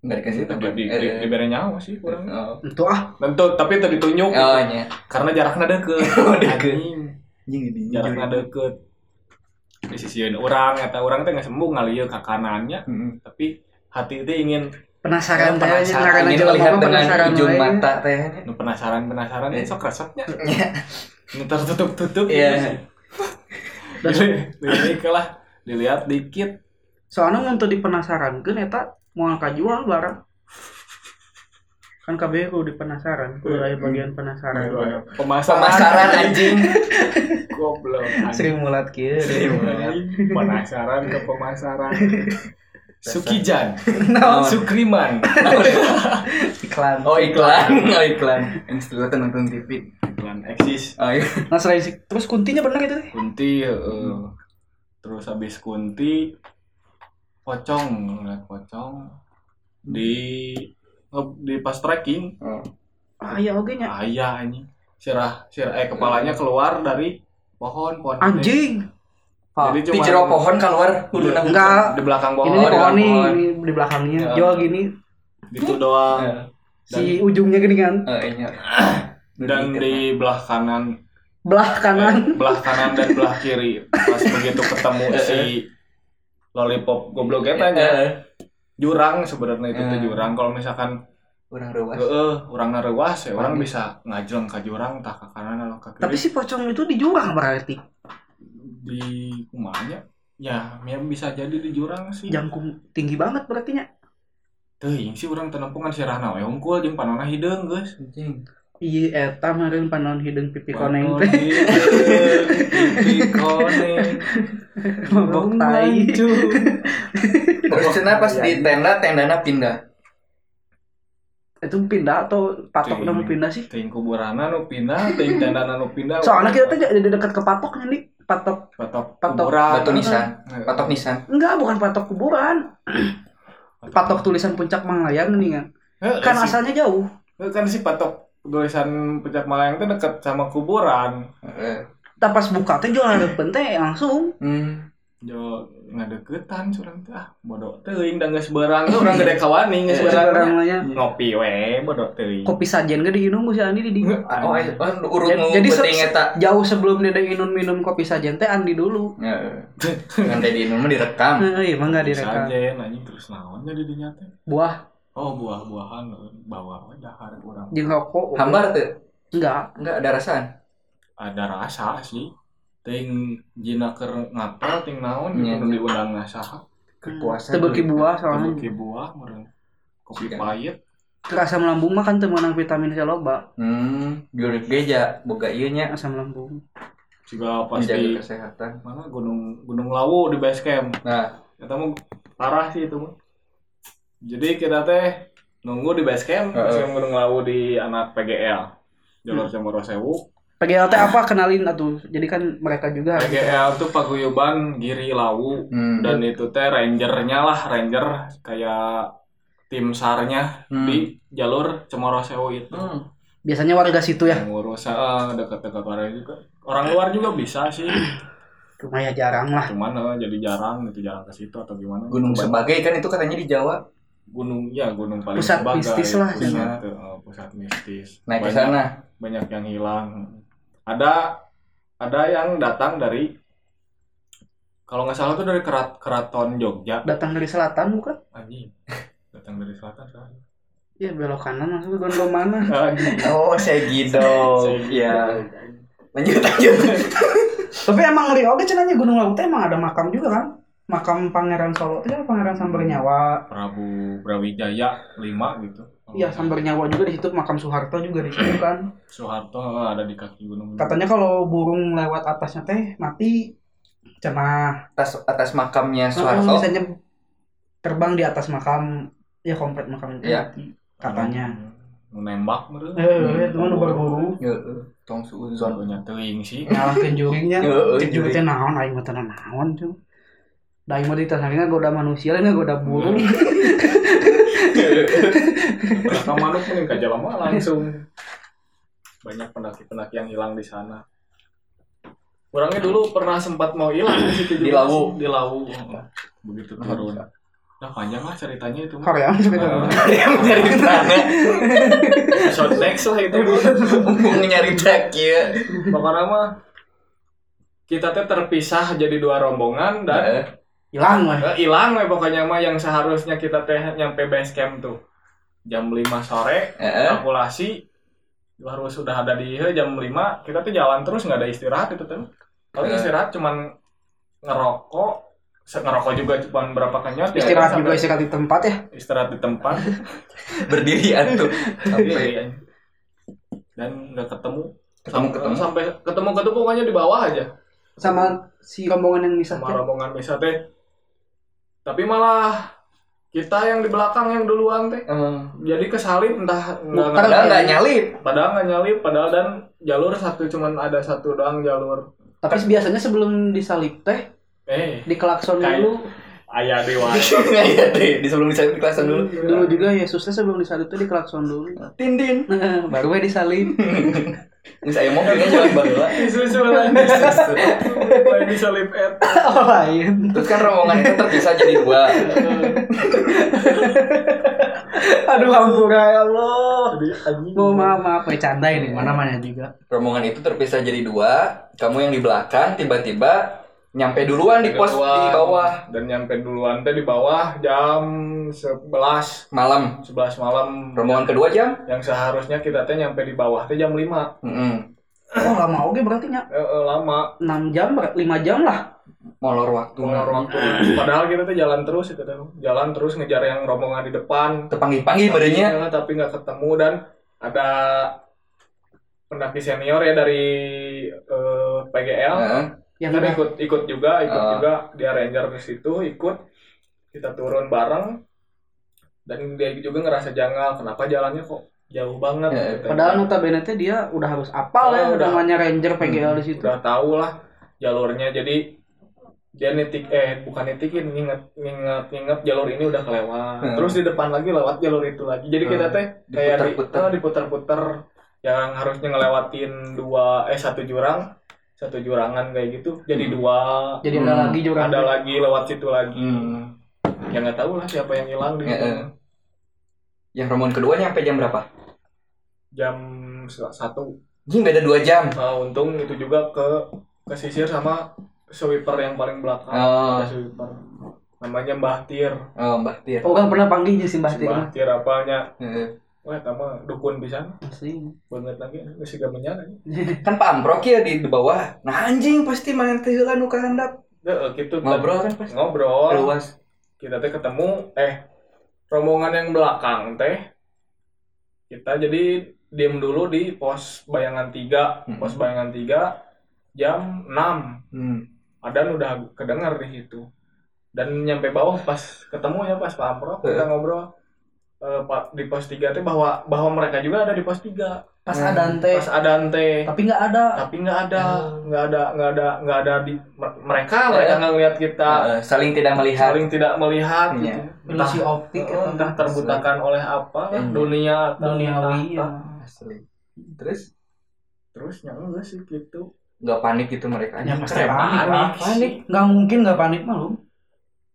Speaker 2: nggak dikasih
Speaker 4: Di,
Speaker 2: tahu.
Speaker 4: di, di,
Speaker 2: Eh,
Speaker 4: dibere nyawa sih kurang.
Speaker 2: Oh,
Speaker 1: Itu ah,
Speaker 4: Tentu, tapi tadi tunjuk gitu.
Speaker 2: oh nya.
Speaker 4: karena jaraknya deket.
Speaker 2: Deket.
Speaker 4: Anjing.
Speaker 2: Anjing ini
Speaker 4: jaraknya deket di sisi orang kata orang teh nggak sembuh ngalir ke kanannya
Speaker 2: Heeh.
Speaker 4: tapi hati itu ingin
Speaker 1: penasaran teh anjing
Speaker 2: Penasaran, ingin melihat dengan ujung mata teh.
Speaker 4: penasaran penasaran
Speaker 2: Eh.
Speaker 4: sok resepnya
Speaker 2: Iya.
Speaker 4: tertutup tutup
Speaker 2: Iya.
Speaker 4: ini lah dilihat dikit
Speaker 1: Soalnya anu mun teu dipenasarankeun eta moal kajual barang. Kan kabeh kudu dipenasaran, kudu aya
Speaker 2: Hmm.
Speaker 1: bagian penasaran.
Speaker 4: pemasaran
Speaker 2: Pemasaran anjing.
Speaker 4: goblok
Speaker 1: Sering mulat gitu kieu.
Speaker 2: Sri Mulat.
Speaker 4: penasaran ke pemasaran Sukijan
Speaker 1: Naon?
Speaker 4: Sukriman
Speaker 1: Iklan.
Speaker 2: Oh iklan, oh iklan. Instagram teh nonton TV.
Speaker 4: iklan eksis
Speaker 2: Oh iya.
Speaker 1: Nah, selain si- terus kuntinya benar gitu teh.
Speaker 4: Kunti eh,
Speaker 1: Hmm.
Speaker 4: terus habis Kunti pocong ngeliat pocong
Speaker 1: Hmm.
Speaker 4: di nge- di pas trekking
Speaker 2: Oh.
Speaker 1: Ah, iya oge nya.
Speaker 4: ayah ini sirah sirah eh kepalanya keluar dari pohon pohon gede.
Speaker 1: Anjing.
Speaker 4: jadi
Speaker 2: Di
Speaker 4: cuma Iya.
Speaker 2: jero pohon keluar
Speaker 4: di,
Speaker 2: huluna.
Speaker 1: Enggak.
Speaker 4: di belakang pohon kan.
Speaker 1: Ini
Speaker 2: di
Speaker 1: nih Oh, pohon Iya. nih
Speaker 2: pohon.
Speaker 1: ini di belakangnya.
Speaker 4: Ya.
Speaker 1: Jual gini
Speaker 4: gitu
Speaker 1: Ya.
Speaker 4: doang
Speaker 2: Eh,
Speaker 1: si ujungnya gini kan.
Speaker 2: eh, nya.
Speaker 4: dan di belah kanan
Speaker 1: Belah kanan. Ya,
Speaker 4: eh, belah kanan dan belah kiri pas begitu ketemu si lollipop goblok etanya
Speaker 2: Eh,
Speaker 4: jurang sebenarnya
Speaker 1: Ya.
Speaker 4: itu tuh
Speaker 2: Eh.
Speaker 4: jurang kalau misalkan
Speaker 2: Urang ruas.
Speaker 4: Heeh, orang ngarewas ya, orang
Speaker 2: Paham.
Speaker 4: bisa ngajleng ke jurang tah ke kanan atau ke kiri.
Speaker 1: Tapi si pocong itu di jurang berarti.
Speaker 4: di kumanya ya, ya bisa jadi di jurang sih.
Speaker 1: Jangkung tinggi banget berarti nya.
Speaker 4: Teuing sih urang tenempungan si Rahna we unggul jeung panona hideung, geus.
Speaker 2: Anjing.
Speaker 1: Iya, eta meureun panon hidung pipi koneng teh.
Speaker 4: Panona hideung, pipi koneng.
Speaker 1: Mabok
Speaker 4: Hidung
Speaker 1: tai.
Speaker 4: mancung.
Speaker 2: Terus cenah Oh, pas
Speaker 1: Iya,
Speaker 2: di tenda, tendana pindah.
Speaker 1: Itu pindah atau patok
Speaker 4: Teuing.
Speaker 1: nama pindah sih?
Speaker 4: Teuing kuburanna nu pindah, teuing tendana nu pindah.
Speaker 1: Soalnya kita tuh jadi dekat ke patoknya nih. Patok
Speaker 4: patok
Speaker 1: patok-
Speaker 4: kuburan.
Speaker 2: Batu nisan,
Speaker 4: Heeh.
Speaker 2: patok nisan.
Speaker 1: enggak, bukan patok kuburan. Patok tulisan puncak Manglayang nih kan.
Speaker 4: Heeh,
Speaker 1: Kan
Speaker 4: si-
Speaker 1: asalnya jauh.
Speaker 4: heeh, kan si patok tulisan pecak malayang itu deket sama kuburan.
Speaker 2: Heeh.
Speaker 1: Tapi pas buka teh jual harapan teh langsung.
Speaker 2: Hmm.
Speaker 4: Jo ngadeketan curang teh ah bodoh teuing da geus beurang teh urang gede kawani geus beurang
Speaker 1: Orang nanya
Speaker 4: ngopi we bodoh teuing.
Speaker 1: kopi sajen gede minum si Andi di dieu.
Speaker 2: Oh, eh, oh, urut
Speaker 1: Jadi-
Speaker 2: nu
Speaker 1: jadi
Speaker 2: penting
Speaker 1: se-
Speaker 2: eta.
Speaker 1: Jauh sebelum Dede Inun minum kopi sajen teh Andi dulu. Eh, iya,
Speaker 2: Heeh. Ngan Ya, eh. di nomor direkam.
Speaker 1: Heeh, emang enggak direkam.
Speaker 4: Sajen anjing terus naon jadi dinya teh.
Speaker 1: Buah
Speaker 4: Oh buah-buahan eh, bawa we dahar urang.
Speaker 1: jeung rokok.
Speaker 2: Hambar tuh,
Speaker 1: Enggak.
Speaker 2: enggak ada rasaan.
Speaker 4: Ada rasa sih. Teuing jina keur ngapel ting naon
Speaker 2: Iya,
Speaker 4: gitu
Speaker 2: iya.
Speaker 4: diundang nasaha.
Speaker 2: Kekuasaan.
Speaker 1: Tebeki buah soalnya.
Speaker 4: Tebeki buah meureun kopi
Speaker 2: Siga.
Speaker 4: payet.
Speaker 1: asam lambung mah kan teu meunang vitamin C loba
Speaker 2: Hmm, geureup geja boga ieu nya
Speaker 1: asam lambung
Speaker 4: Juga
Speaker 2: menjaga
Speaker 4: pasti
Speaker 2: kesehatan.
Speaker 4: mana gunung gunung lawu di base camp.
Speaker 2: Nah,
Speaker 4: Eta mah parah sih itu mah. Jadi kita teh nunggu di base camp,
Speaker 2: Heeh. Hmm.
Speaker 4: base camp Gunung Lawu di anak PGL. Jalur Cemoro Sewu.
Speaker 1: PGL teh apa kenalin atuh jadi kan mereka juga
Speaker 4: PGL tuh paguyuban Giri Lawu
Speaker 2: hmm.
Speaker 4: dan itu teh rangernya lah, ranger kayak tim sarnya
Speaker 2: Hmm.
Speaker 4: di jalur Cemoro Sewu itu.
Speaker 2: Hmm. Iya.
Speaker 1: biasanya warga situ ya
Speaker 4: Yang ngurus eh, dekat-dekat orang juga. Orang luar juga bisa sih,
Speaker 1: lumayan ya jarang lah
Speaker 4: cuman eh, jadi jarang gitu, jarang ke situ atau gimana.
Speaker 2: Gunung
Speaker 4: Cuman-
Speaker 2: sebagai kan itu katanya di Jawa.
Speaker 4: gunung ya gunung paling
Speaker 1: Pusat
Speaker 4: sebagai,
Speaker 1: mistis lah, ya.
Speaker 4: pusat, eh, pusat mistis
Speaker 2: Naik ke
Speaker 4: banyak,
Speaker 2: sana.
Speaker 4: banyak yang hilang ada ada yang datang dari kalau nggak salah tuh dari kerat keraton Jogja
Speaker 1: datang dari selatan bukan
Speaker 4: anjing datang dari selatan salah.
Speaker 1: ya belok kanan langsung ke gondol mana
Speaker 4: Anjing.
Speaker 2: Oh, saya gitu. Iya. Lanjut lanjut.
Speaker 1: tapi emang ngeri oke cenanya gunung lawu teh emang ada makam juga kan makam pangeran solo itu kan pangeran sambernyawa
Speaker 4: Prabu Brawijaya 5 gitu Kalau
Speaker 1: iya
Speaker 4: nggak salah.
Speaker 1: sambernyawa juga di situ makam soeharto juga di situ kan
Speaker 4: Soeharto eh, ada di kaki gunung
Speaker 1: katanya kalau burung lewat atasnya teh mati cenah
Speaker 2: Atas atas makamnya
Speaker 1: Soeharto
Speaker 2: Soeharto.
Speaker 1: misalnya terbang di atas makam ya komplek makam itu
Speaker 2: Iya.
Speaker 1: mati katanya
Speaker 4: menembak mereka
Speaker 1: Eh, itu mah berburu.
Speaker 2: Heeh. Tong suuzon.
Speaker 4: punya teuing sih
Speaker 1: Nyalahkeun juringnya.
Speaker 2: Heeh,
Speaker 1: Cek juring
Speaker 2: juring.
Speaker 1: teh naon aing mah teu naon cuy. Da aing mah ditasangkeun goda manusia lain goda burung.
Speaker 4: Penakam manuk mungkin ke Jawa Mall langsung. Banyak pendaki-pendaki yang hilang di sana. Orangnya dulu pernah sempat mau hilang di situ
Speaker 2: Di
Speaker 4: juga
Speaker 2: Lawu.
Speaker 6: Iya,
Speaker 4: sih, Di Lawu. Begitu turun
Speaker 6: Nah, panjang lah ceritanya itu.
Speaker 1: Korea sampai
Speaker 6: Nah.
Speaker 1: tahu. Korea mencari tanah.
Speaker 4: Short next lah itu.
Speaker 2: Mau nyari dak ya.
Speaker 4: Pokoknya mah kita teh terpisah jadi dua rombongan dan
Speaker 1: Hilang lah.
Speaker 4: Eh, hilang we pokoknya mah yang seharusnya kita teh nyampe base camp tuh jam 5 sore
Speaker 1: Eh?
Speaker 2: Heeh.
Speaker 4: kalkulasi baru sudah ada di heuh, jam 5 kita tuh jalan terus nggak ada istirahat itu tuh paling
Speaker 1: Iya.
Speaker 2: Eh.
Speaker 4: istirahat cuman ngerokok se- ngerokok juga cuman berapa kenyot ya,
Speaker 1: Istirahat juga
Speaker 4: sampai
Speaker 1: istirahat di tempat ya.
Speaker 4: istirahat di tempat
Speaker 2: Berdirian tuh. Sampai
Speaker 4: Iya, iya. dan nggak ketemu
Speaker 2: ketemu ketemu.
Speaker 4: sampai ketemu ketemu pokoknya di bawah aja
Speaker 1: Sama si rombongan yang misah.
Speaker 4: sama
Speaker 1: tuh.
Speaker 4: rombongan misa teh tapi malah kita yang di belakang yang duluan teh
Speaker 2: Eh,
Speaker 4: jadi kesalip entah
Speaker 1: Muter.
Speaker 2: Padahal nggak nyalip.
Speaker 4: padahal nggak nyalip padahal dan jalur satu cuman ada satu doang jalur
Speaker 1: Tapi biasanya sebelum disalip teh
Speaker 4: eh
Speaker 1: di klakson
Speaker 4: Kayak-
Speaker 1: dulu.
Speaker 4: ayah dewa
Speaker 2: Iya deh, di sebelum disalip di kelasan dulu.
Speaker 4: Iya,
Speaker 1: Dulu juga Yesusnya sebelum disalip tuh di klakson dulu.
Speaker 2: Tin tin.
Speaker 1: Baru we disalip.
Speaker 2: Ini saya mobilnya jalan berdua.
Speaker 4: susulan main disalip et
Speaker 1: Oh lain.
Speaker 2: Terus kan rombongan itu terpisah jadi dua.
Speaker 1: Aduh ampun ya Allah.
Speaker 4: jadi anjing
Speaker 1: Mau maaf maaf we canda ini mana mana juga.
Speaker 2: Rombongan itu terpisah jadi dua. Kamu yang di belakang tiba-tiba nyampe duluan di pos di bawah
Speaker 4: dan nyampe duluan teh di bawah jam 11
Speaker 2: malam.
Speaker 4: 11 malam
Speaker 2: Rombongan kedua jam.
Speaker 4: yang seharusnya kita teh nyampe di bawah teh jam 5
Speaker 2: Mm-mm.
Speaker 1: Oh lama oke berarti nya
Speaker 4: eh, eh, lama
Speaker 1: 6 jam 5 jam lah.
Speaker 2: Molor waktu.
Speaker 4: keluar waktu padahal kita teh jalan terus itu teh jalan terus ngejar yang rombongan di depan
Speaker 2: Terpanggil-panggil badannya.
Speaker 4: Iya, tapi nggak ketemu dan ada pendaki senior ya dari eh, PGL
Speaker 2: Heeh.
Speaker 1: Yang
Speaker 4: kan ikut ikut juga ikut
Speaker 2: Iya. Ah.
Speaker 4: juga dia ranger di situ ikut kita turun bareng dan dia juga ngerasa jangal kenapa jalannya kok jauh banget
Speaker 2: Ya,
Speaker 4: gitu.
Speaker 1: Padahal notabene teh dia udah harus apal ya
Speaker 4: Oh, udah. Hmm,
Speaker 1: namanya Ranger PGL di situ.
Speaker 4: udah tahu lah jalurnya jadi dia nitik eh bukan nitikin nginget nginget nginget jalur ini udah kelewat
Speaker 2: Hmm.
Speaker 4: terus di depan lagi lewat jalur itu lagi jadi kita
Speaker 2: Hmm.
Speaker 4: teh kayak di-
Speaker 2: Diputer-puter.
Speaker 4: eh, diputer-puter yang harusnya ngelewatin dua eh satu jurang satu jurangan kayak gitu jadi
Speaker 2: Hmm.
Speaker 4: dua
Speaker 1: Jadi ada
Speaker 2: Hmm,
Speaker 1: lagi jurang.
Speaker 4: ada lagi lewat situ lagi
Speaker 2: Hmm.
Speaker 4: ya nggak tahu lah siapa yang hilang di
Speaker 2: Ya,
Speaker 4: situ.
Speaker 2: eh. Yang rombongan kedua nyampe jam berapa?
Speaker 4: jam se- satu
Speaker 2: Jing beda dua jam.
Speaker 4: Nah, untung itu juga ke kesisir sama sweeper yang paling belakang
Speaker 2: Oh,
Speaker 4: Ada sweeper. namanya Mbah Tir
Speaker 2: oh Mbah Tir.
Speaker 1: Oh, kan pernah panggil jeung si Mbah
Speaker 4: Si
Speaker 1: Tir.
Speaker 4: Mbah Tir apanya
Speaker 2: Heeh.
Speaker 4: wah sama dukun bisa
Speaker 1: Asli.
Speaker 4: banget lagi masih gak menyala
Speaker 2: Kan Pak Amprok ya di, di bawah. Nah anjing pasti main teh heula nu kahandap.
Speaker 4: gitu
Speaker 2: Ngobrol kan pasti.
Speaker 4: ngobrol
Speaker 2: Luas.
Speaker 4: kita teh ketemu eh rombongan yang belakang teh kita jadi diem dulu di pos bayangan 3
Speaker 2: Hmm.
Speaker 4: pos bayangan 3 jam 6
Speaker 2: Hmm.
Speaker 4: adan udah kedengar di situ dan nyampe bawah pas ketemu ya pas Pak Amro kita
Speaker 2: Eh.
Speaker 4: ngobrol eh, Pak di pos 3 teh bahwa bahwa mereka juga ada di pos 3
Speaker 1: Pas
Speaker 2: Hmm.
Speaker 1: ada teh.
Speaker 4: pas adan
Speaker 1: Eh.
Speaker 4: teh
Speaker 1: Tapi nggak ada.
Speaker 4: tapi nggak ada
Speaker 2: Hmm.
Speaker 4: nggak ada nggak ada nggak ada di mereka mereka
Speaker 2: Eh.
Speaker 4: nggak ngeliat kita
Speaker 2: Heeh, saling tidak melihat.
Speaker 4: saling tidak
Speaker 2: Iya.
Speaker 4: melihat gitu. Entah,
Speaker 1: Ilusi optik
Speaker 4: eh, entah
Speaker 1: atau
Speaker 4: terbutakan oleh apa lah,
Speaker 2: Iya.
Speaker 4: dunia atau
Speaker 1: kan? duniawi
Speaker 4: entah
Speaker 1: ya.
Speaker 4: apa.
Speaker 2: Asli. Terus
Speaker 4: terus nyangga sih gitu
Speaker 2: nggak panik gitu mereka.
Speaker 1: Ya,
Speaker 2: Anjing,
Speaker 1: pasti
Speaker 2: keren
Speaker 1: panik.
Speaker 2: banget.
Speaker 4: panik
Speaker 1: Nggak mungkin nggak panik mah lu.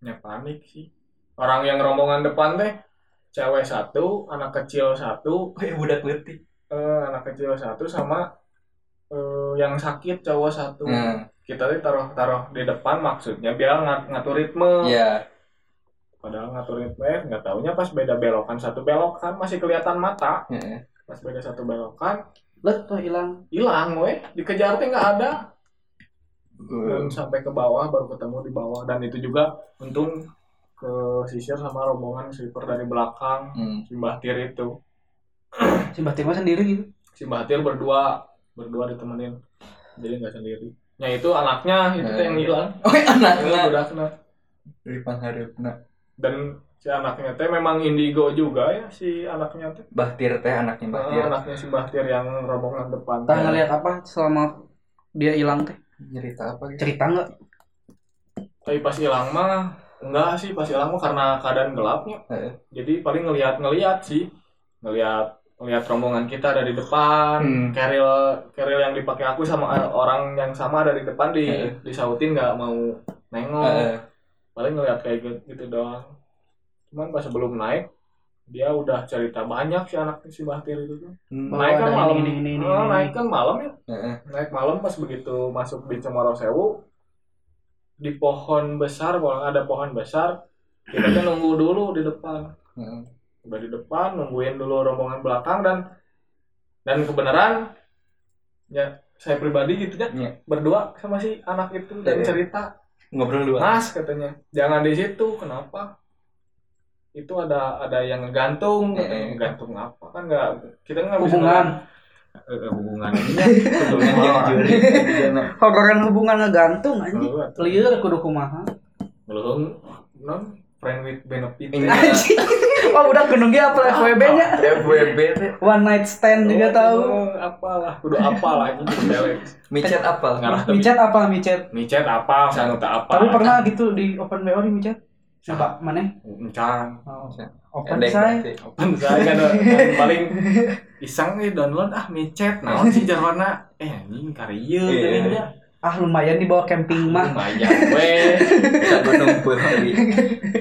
Speaker 4: ya panik sih orang yang rombongan depan teh cewek satu anak kecil satu
Speaker 2: Weh, budak letih.
Speaker 4: eh, anak kecil satu sama eh, yang sakit cowok satu
Speaker 2: Nah,
Speaker 4: kita tuh taruh taruh di depan maksudnya biar ngat- ngatur ritme
Speaker 2: ya.
Speaker 4: padahal ngatur ritme nggak taunya pas beda belokan satu belokan masih kelihatan mata
Speaker 2: Heeh.
Speaker 4: pas beda satu belokan
Speaker 1: Let tuh hilang.
Speaker 4: hilang weh dikejar teh nggak ada Dan sampai ke bawah baru ketemu di bawah dan itu juga untung ke sisir sama rombongan sweeper dari belakang
Speaker 2: Hmm.
Speaker 4: si Mbah Tir itu
Speaker 1: Si Mbah Tir mah sendiri gitu.
Speaker 4: si Mbah Tir berdua berdua ditemenin jadi nggak sendiri ya itu anaknya itu tuh yang Hmm. hilang
Speaker 2: Oh,
Speaker 4: Itu
Speaker 2: anaknya.
Speaker 4: budakna.
Speaker 2: Dari pangharepna.
Speaker 4: dan si anaknya teh memang indigo juga ya si anaknya teh
Speaker 2: Bahtir teh anaknya
Speaker 4: Nah,
Speaker 2: Bahtir.
Speaker 4: anaknya si Mbah Tir yang rombongan depan
Speaker 1: Entah ngelihat apa selama dia hilang teh.
Speaker 2: Cerita apa gitu?
Speaker 1: Cerita nggak?
Speaker 4: tapi pas hilang mah enggak sih pas hilang mah karena keadaan gelapnya
Speaker 2: Heeh.
Speaker 4: jadi paling ngelihat ngelihat sih ngelihat ngelihat rombongan kita ada di depan
Speaker 2: Hmm.
Speaker 4: keril keril yang dipakai aku sama
Speaker 3: eh,
Speaker 4: orang yang sama ada di depan
Speaker 1: Eh.
Speaker 4: di
Speaker 2: Heeh.
Speaker 4: disautin nggak mau nengok
Speaker 2: Heeh.
Speaker 4: paling ngelihat kayak gitu, gitu doang
Speaker 3: cuman pas sebelum naik dia udah cerita banyak si anak si Bahtir itu tuh.
Speaker 1: Bahwa
Speaker 3: naik kan
Speaker 1: Oh, ada
Speaker 3: malam,
Speaker 1: ini, ini, ini,
Speaker 3: Ah,
Speaker 1: ini.
Speaker 3: naik kan malam ya,
Speaker 2: Heeh.
Speaker 3: naik malam pas begitu masuk di Cemoro Sewu di pohon besar, kalau nggak ada pohon besar kita tuh nunggu dulu di depan,
Speaker 2: Heeh.
Speaker 3: udah di depan nungguin dulu rombongan belakang dan dan kebenaran ya saya pribadi gitu ya
Speaker 2: Iya.
Speaker 3: berdua sama si anak itu dan
Speaker 2: Iya.
Speaker 3: cerita
Speaker 2: Ngobrol dua.
Speaker 3: Mas katanya, jangan di situ. Kenapa? Itu ada ada yang ngegantung,
Speaker 2: Eh,
Speaker 3: katanya.
Speaker 2: eh.
Speaker 3: ngegantung apa? Kan nggak kita nggak bisa
Speaker 1: Iya. hubungan Iya,
Speaker 4: Eh, eh, hubungan ini
Speaker 3: ya,
Speaker 2: Hubungan jeung
Speaker 4: Iya,
Speaker 2: juri.
Speaker 1: hororan hubungan ngegantung anjing
Speaker 3: Belum,
Speaker 1: liar kudu kumaha
Speaker 3: belum, non friend with benefit.
Speaker 1: Iya.
Speaker 2: Ini.
Speaker 1: anjing oh udah gunung ge apa FWB nya
Speaker 2: FWB teh
Speaker 1: one night
Speaker 4: Oh,
Speaker 1: stand juga tahu
Speaker 3: Oh,
Speaker 4: iya.
Speaker 3: Apalah, udah apalah ini cewek.
Speaker 2: micet apal.
Speaker 3: Ngarah tapi
Speaker 1: micet apa micet
Speaker 3: micet apa, sanut
Speaker 4: Ah.
Speaker 3: apa.
Speaker 1: tapi pernah gitu di open BO di micet coba mana
Speaker 4: encan
Speaker 1: Oh,
Speaker 2: Micet.
Speaker 1: open
Speaker 2: Endek
Speaker 1: saya
Speaker 2: berarti.
Speaker 3: Saya kan kan eh, paling
Speaker 4: iseng nih download ah micet naon sih jarwana eh anjing karieun
Speaker 2: Iya.
Speaker 4: tadi nya.
Speaker 1: ah lumayan dibawa camping mah
Speaker 3: lumayan weh.
Speaker 2: Kita gunung pun lagi.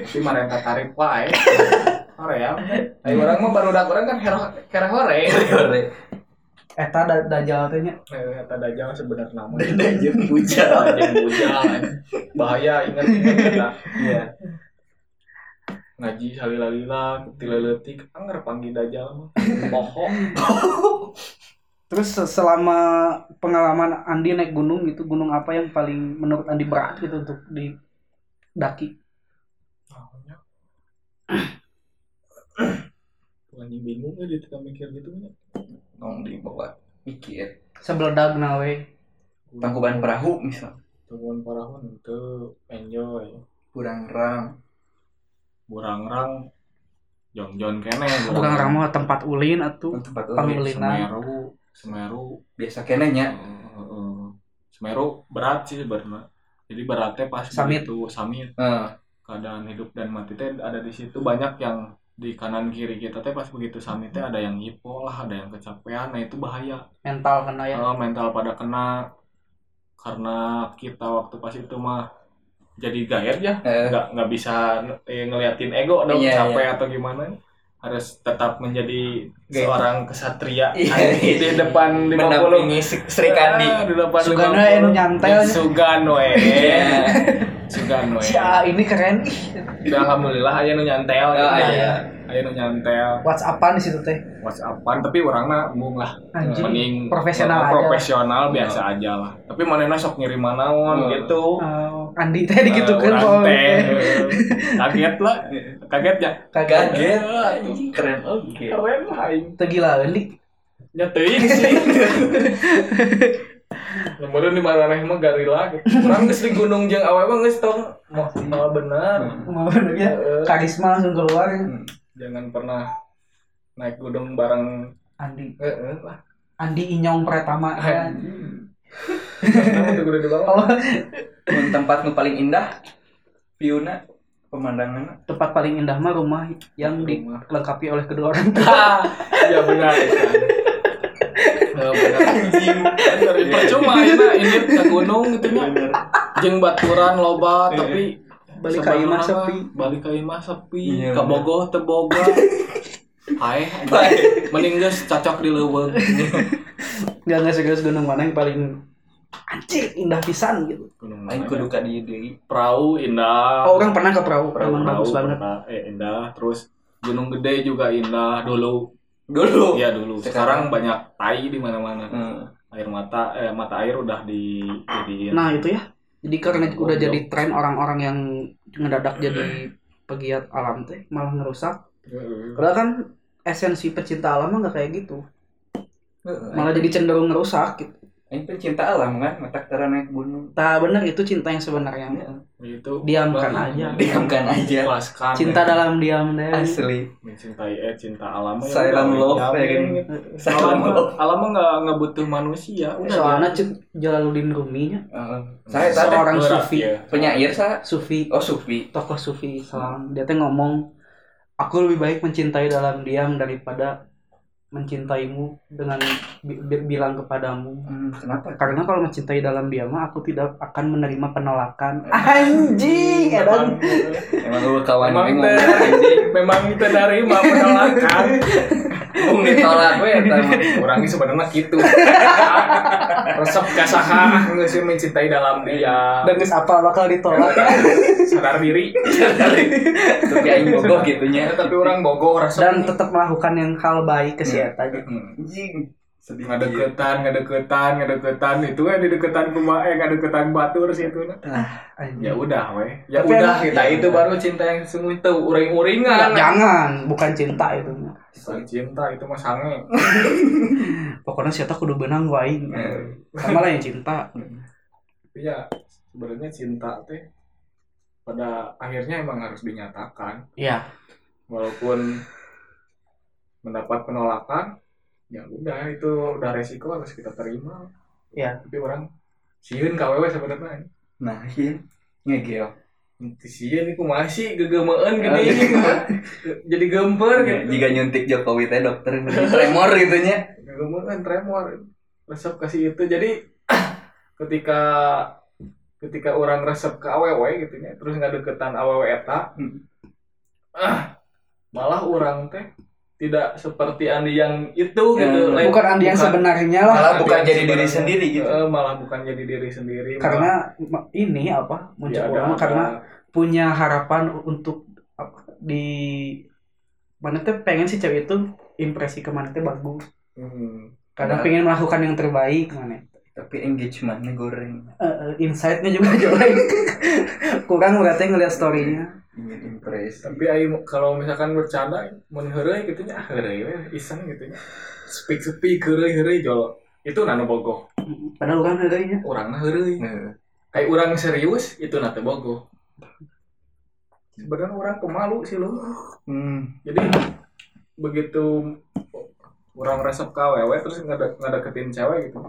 Speaker 4: Si marenta tarik
Speaker 3: eh.
Speaker 4: wae.
Speaker 3: Korea. Ayo orang mah baru udah orang kan hero keren hore.
Speaker 2: Sore.
Speaker 1: eta da dajal teh nya
Speaker 3: Eh, Tanda jangan sebenar nama.
Speaker 2: Aja bujal.
Speaker 3: Anjing bujang, anjing. bahaya ingat ingat kita
Speaker 2: Iya.
Speaker 3: ngaji salila-lila tileletik anger panggil dajal poho
Speaker 1: Terus se- selama pengalaman Andi naik gunung gitu, gunung apa yang paling menurut Andi berat gitu untuk didaki?
Speaker 3: anjing bingung ya dia tidak mikir gitu ya
Speaker 2: Nong di bawah. Mikir.
Speaker 1: Sebeledag nawe.
Speaker 2: Tangkuban perahu misal.
Speaker 3: temuan parahun itu enjoy
Speaker 2: Kurang ram.
Speaker 4: Burangrang jong-jong kene Iya,
Speaker 1: Bukan ramah tempat ulin atau
Speaker 2: Tempat orang
Speaker 1: pangulina.
Speaker 4: Semeru, Semeru
Speaker 2: biasa kenanya.
Speaker 4: Heeh. Semeru berat sih sebenarnya. Jadi beratnya pas
Speaker 1: Summit.
Speaker 4: itu summit
Speaker 2: Heeh.
Speaker 4: keadaan hidup dan mati teh ada di situ banyak yang di kanan kiri kita teh pas begitu summit teh ada yang hipo lah, ada yang kecapean, nah itu bahaya.
Speaker 1: Mental kena ya.
Speaker 4: Kalau Eh, mental pada kena karena kita waktu pas itu mah jadi gayet ya,
Speaker 2: Eh,
Speaker 4: nggak nggak bisa eh, ngeliatin ego dong
Speaker 2: Iya,
Speaker 4: capek atau gimana harus tetap menjadi
Speaker 2: Gayet.
Speaker 4: seorang kesatria
Speaker 2: Iya.
Speaker 4: di depan 50
Speaker 2: Mendampingi Sri- Sri Kandi.
Speaker 4: Ah, di depan
Speaker 1: Sugana
Speaker 4: 50.
Speaker 1: enu nyantel.
Speaker 4: Sugan we.
Speaker 2: Iya.
Speaker 4: Sugan we.
Speaker 1: Si A ini keren. Ih,
Speaker 4: Dan alhamdulillah aya nu nyantel.
Speaker 2: Ah, iya.
Speaker 4: Aya nu nyantel.
Speaker 1: WhatsAppan di situ teh.
Speaker 4: WhatsAppan tapi orangna embung lah.
Speaker 1: Anjing.
Speaker 4: Mending
Speaker 1: profesional aja. Iya.
Speaker 4: profesional biasa aja lah. Tapi manehna sok ngiriman
Speaker 3: Iya.
Speaker 4: naon
Speaker 2: Hmm.
Speaker 4: gitu.
Speaker 1: Oh, Andi teh dikitu
Speaker 4: Eh,
Speaker 1: kan
Speaker 4: urang teh, eh, Kaget lah. Kaget ya. Iya.
Speaker 1: Kagak.
Speaker 2: Kaget. Anjing, Keren oke.
Speaker 3: Iya. keren lah aing
Speaker 1: Teu gila Andi.
Speaker 4: Nyeteuing sih.
Speaker 3: kemudian di mana mah garila gitu orang geus di gunung jeung awewe geus tong mau mau
Speaker 4: Hmm.
Speaker 3: bener
Speaker 1: Mau ya.
Speaker 4: Eh.
Speaker 1: Karisma langsung keluar ya.
Speaker 3: jangan pernah naik gunung bareng
Speaker 1: Andi.
Speaker 3: eh eh lah
Speaker 1: Andi Inyong pertama. ya.
Speaker 3: Karena itu udah di bawah
Speaker 1: Kalau
Speaker 2: Mun tempat nu paling indah viewna pemandangan
Speaker 1: tempat paling indah mah rumah yang
Speaker 3: Rumah.
Speaker 1: dilengkapi oleh kedua orang tua.
Speaker 3: Ah, iya benar. Anjing, percuma ya nah, ini ke gunung gitu nya. Jeung baturan loba tapi
Speaker 1: Balik ka
Speaker 3: sebenarnya
Speaker 1: imah
Speaker 3: mah,
Speaker 1: sepi.
Speaker 3: Balik ka imah sepi,
Speaker 2: Iya,
Speaker 3: ka
Speaker 2: bener.
Speaker 3: bogoh teu boga. Hae, mending geus cocok di leuweung.
Speaker 1: Gak nggak serius gunung mana yang paling anjir indah pisan gitu.
Speaker 4: Gunung
Speaker 2: Aing
Speaker 4: Melayu.
Speaker 2: kudu ka dieu deui.
Speaker 4: Perahu indah.
Speaker 1: Oh, orang pernah ke perahu,
Speaker 4: Ah, Perahu,
Speaker 1: emang bagus
Speaker 4: perahu
Speaker 1: banget.
Speaker 4: pernah, eh, indah. Terus Gunung Gede juga indah dulu.
Speaker 2: Dulu.
Speaker 4: Iya
Speaker 2: Oh,
Speaker 4: dulu.
Speaker 2: Sekarang.
Speaker 4: Sekarang banyak tai di mana-mana.
Speaker 2: Heeh.
Speaker 4: Air mata eh mata air udah di jadi
Speaker 1: Nah itu ya. Jadi karena
Speaker 4: Iya. Goblok. Hmm.
Speaker 1: udah jadi tren orang-orang yang ngedadak jadi pegiat alam teh malah ngerusak. Padahal kan esensi pecinta alam mah nggak kayak gitu. Malah jadi cenderung ngerusak gitu.
Speaker 2: Aing pencinta alam kan, matak tara naik gunung. eh,
Speaker 1: Nah bener itu cinta yang sebenarnya.
Speaker 4: itu
Speaker 1: Diamkan
Speaker 4: bah-
Speaker 1: aja.
Speaker 2: Diamkan aja.
Speaker 4: Gitu, Ikhlaskan. ya.
Speaker 1: Cinta dalam diam deh.
Speaker 2: Asli.
Speaker 4: mencintai eh cinta alam ya
Speaker 2: Silent
Speaker 4: udah,
Speaker 2: love,
Speaker 4: dijamin
Speaker 2: ya kan?
Speaker 4: gitu. alam
Speaker 2: Salam
Speaker 4: mah- alam mah nggak nggak butuh manusia udah
Speaker 1: Soalnya Cik Jalaluddin Ruminya
Speaker 2: Heeh.
Speaker 4: dia-
Speaker 2: eh, Saya tadi
Speaker 1: Seorang
Speaker 4: Berat,
Speaker 1: sufi.
Speaker 4: ya.
Speaker 2: penyair saya.
Speaker 1: Sufi
Speaker 2: Oh Sufi.
Speaker 1: tokoh sufi Islam dia teh ngomong aku lebih baik mencintai dalam diam daripada mencintaimu dengan bi- bi- bilang kepadamu
Speaker 2: Hmm, kenapa?
Speaker 1: karena kalau mencintai dalam diam mah, aku tidak akan menerima penolakan Iya, anjing
Speaker 4: memang
Speaker 1: edan
Speaker 2: Emang lu kawan
Speaker 4: memang
Speaker 2: bingung.
Speaker 4: teh memang teh nerima penolakan
Speaker 2: Bung ditolak we eta mah.
Speaker 4: orangnya sebenarnya gitu resep kasaha nggak sih mencintai dalam dia
Speaker 1: dan geus apa bakal ditolak ya?
Speaker 4: sadar diri
Speaker 2: Tapi aing bogoh gitunya.
Speaker 4: tapi orang bogoh resep
Speaker 1: dan tetap melakukan yang hal baik ke si eta gitu.
Speaker 2: Anjing. Sedih banget.
Speaker 7: ngadeketan ngadeketan ngadeketan itu kan dideketan kuma eh ngadeketan batur sih itu
Speaker 1: Anjing.
Speaker 7: ya udah weh
Speaker 4: ya
Speaker 1: Tapi
Speaker 4: udah
Speaker 1: enak.
Speaker 4: kita
Speaker 2: Ya
Speaker 4: itu
Speaker 2: udah. Ya,
Speaker 4: baru cinta yang sungguh tuh uring-uringan
Speaker 1: jangan bukan cinta itu mah.
Speaker 7: Bukan cinta itu mah sange
Speaker 1: pokoknya si eta kudu benang gua aing sama lah yang cinta
Speaker 7: Iya, sebenarnya cinta teh pada akhirnya emang harus dinyatakan
Speaker 1: iya
Speaker 7: walaupun mendapat penolakan ya udah itu udah resiko harus kita terima
Speaker 2: Ya.
Speaker 1: Iya.
Speaker 7: tapi orang siun KWW sebenarnya
Speaker 2: Nah, iya. Ngegel.
Speaker 7: nanti siun aku masih
Speaker 4: gegemean gede ini mah. jadi gemper gitu
Speaker 1: Iya,
Speaker 2: Jika nyuntik Jokowi teh dokter beri tremor gitu gitunya.
Speaker 7: gegemean tremor resep kasih itu jadi
Speaker 4: ketika ketika orang resep ke aww gitu nya terus nggak deketan aww eta
Speaker 2: Hmm.
Speaker 4: ah, malah orang teh tidak seperti Andi yang itu
Speaker 2: Ya,
Speaker 4: gitu Lain-
Speaker 1: bukan andi yang sebenarnya lah
Speaker 2: Malah bukan
Speaker 4: Yang
Speaker 2: jadi diri
Speaker 4: sebenarnya.
Speaker 2: sendiri gitu.
Speaker 4: Eh, malah bukan jadi diri sendiri
Speaker 1: Iya.
Speaker 4: malah-
Speaker 1: karena ma- ini apa muncul
Speaker 4: Ya, ada-
Speaker 1: orang mah
Speaker 4: ada-
Speaker 1: karena punya harapan untuk apa, di mana teh pengen si cewek itu impresi ke mana teh bagus
Speaker 7: hmm,
Speaker 2: Nah.
Speaker 1: karena pengen melakukan yang terbaik mana
Speaker 2: Tapi engagementnya goreng.
Speaker 1: Eh, eh, insight-nya juga jelek kurang berarti ngeliat story-nya
Speaker 2: Ingin impress.
Speaker 4: tapi aing kalau misalkan bercanda mun heureuy gitu nya ah heureuy we, iseng gitu nya speak speak heureuy heureuy jol itu nana bogoh
Speaker 1: padahal orang harganya
Speaker 4: urangna heureuy
Speaker 2: Nah,
Speaker 4: kayak orang serius itu nate bogoh sebenarnya orang pemalu sih lu
Speaker 2: Hmm.
Speaker 4: jadi begitu orang resep ke awewe terus ngede- ngedeketin cewek gitu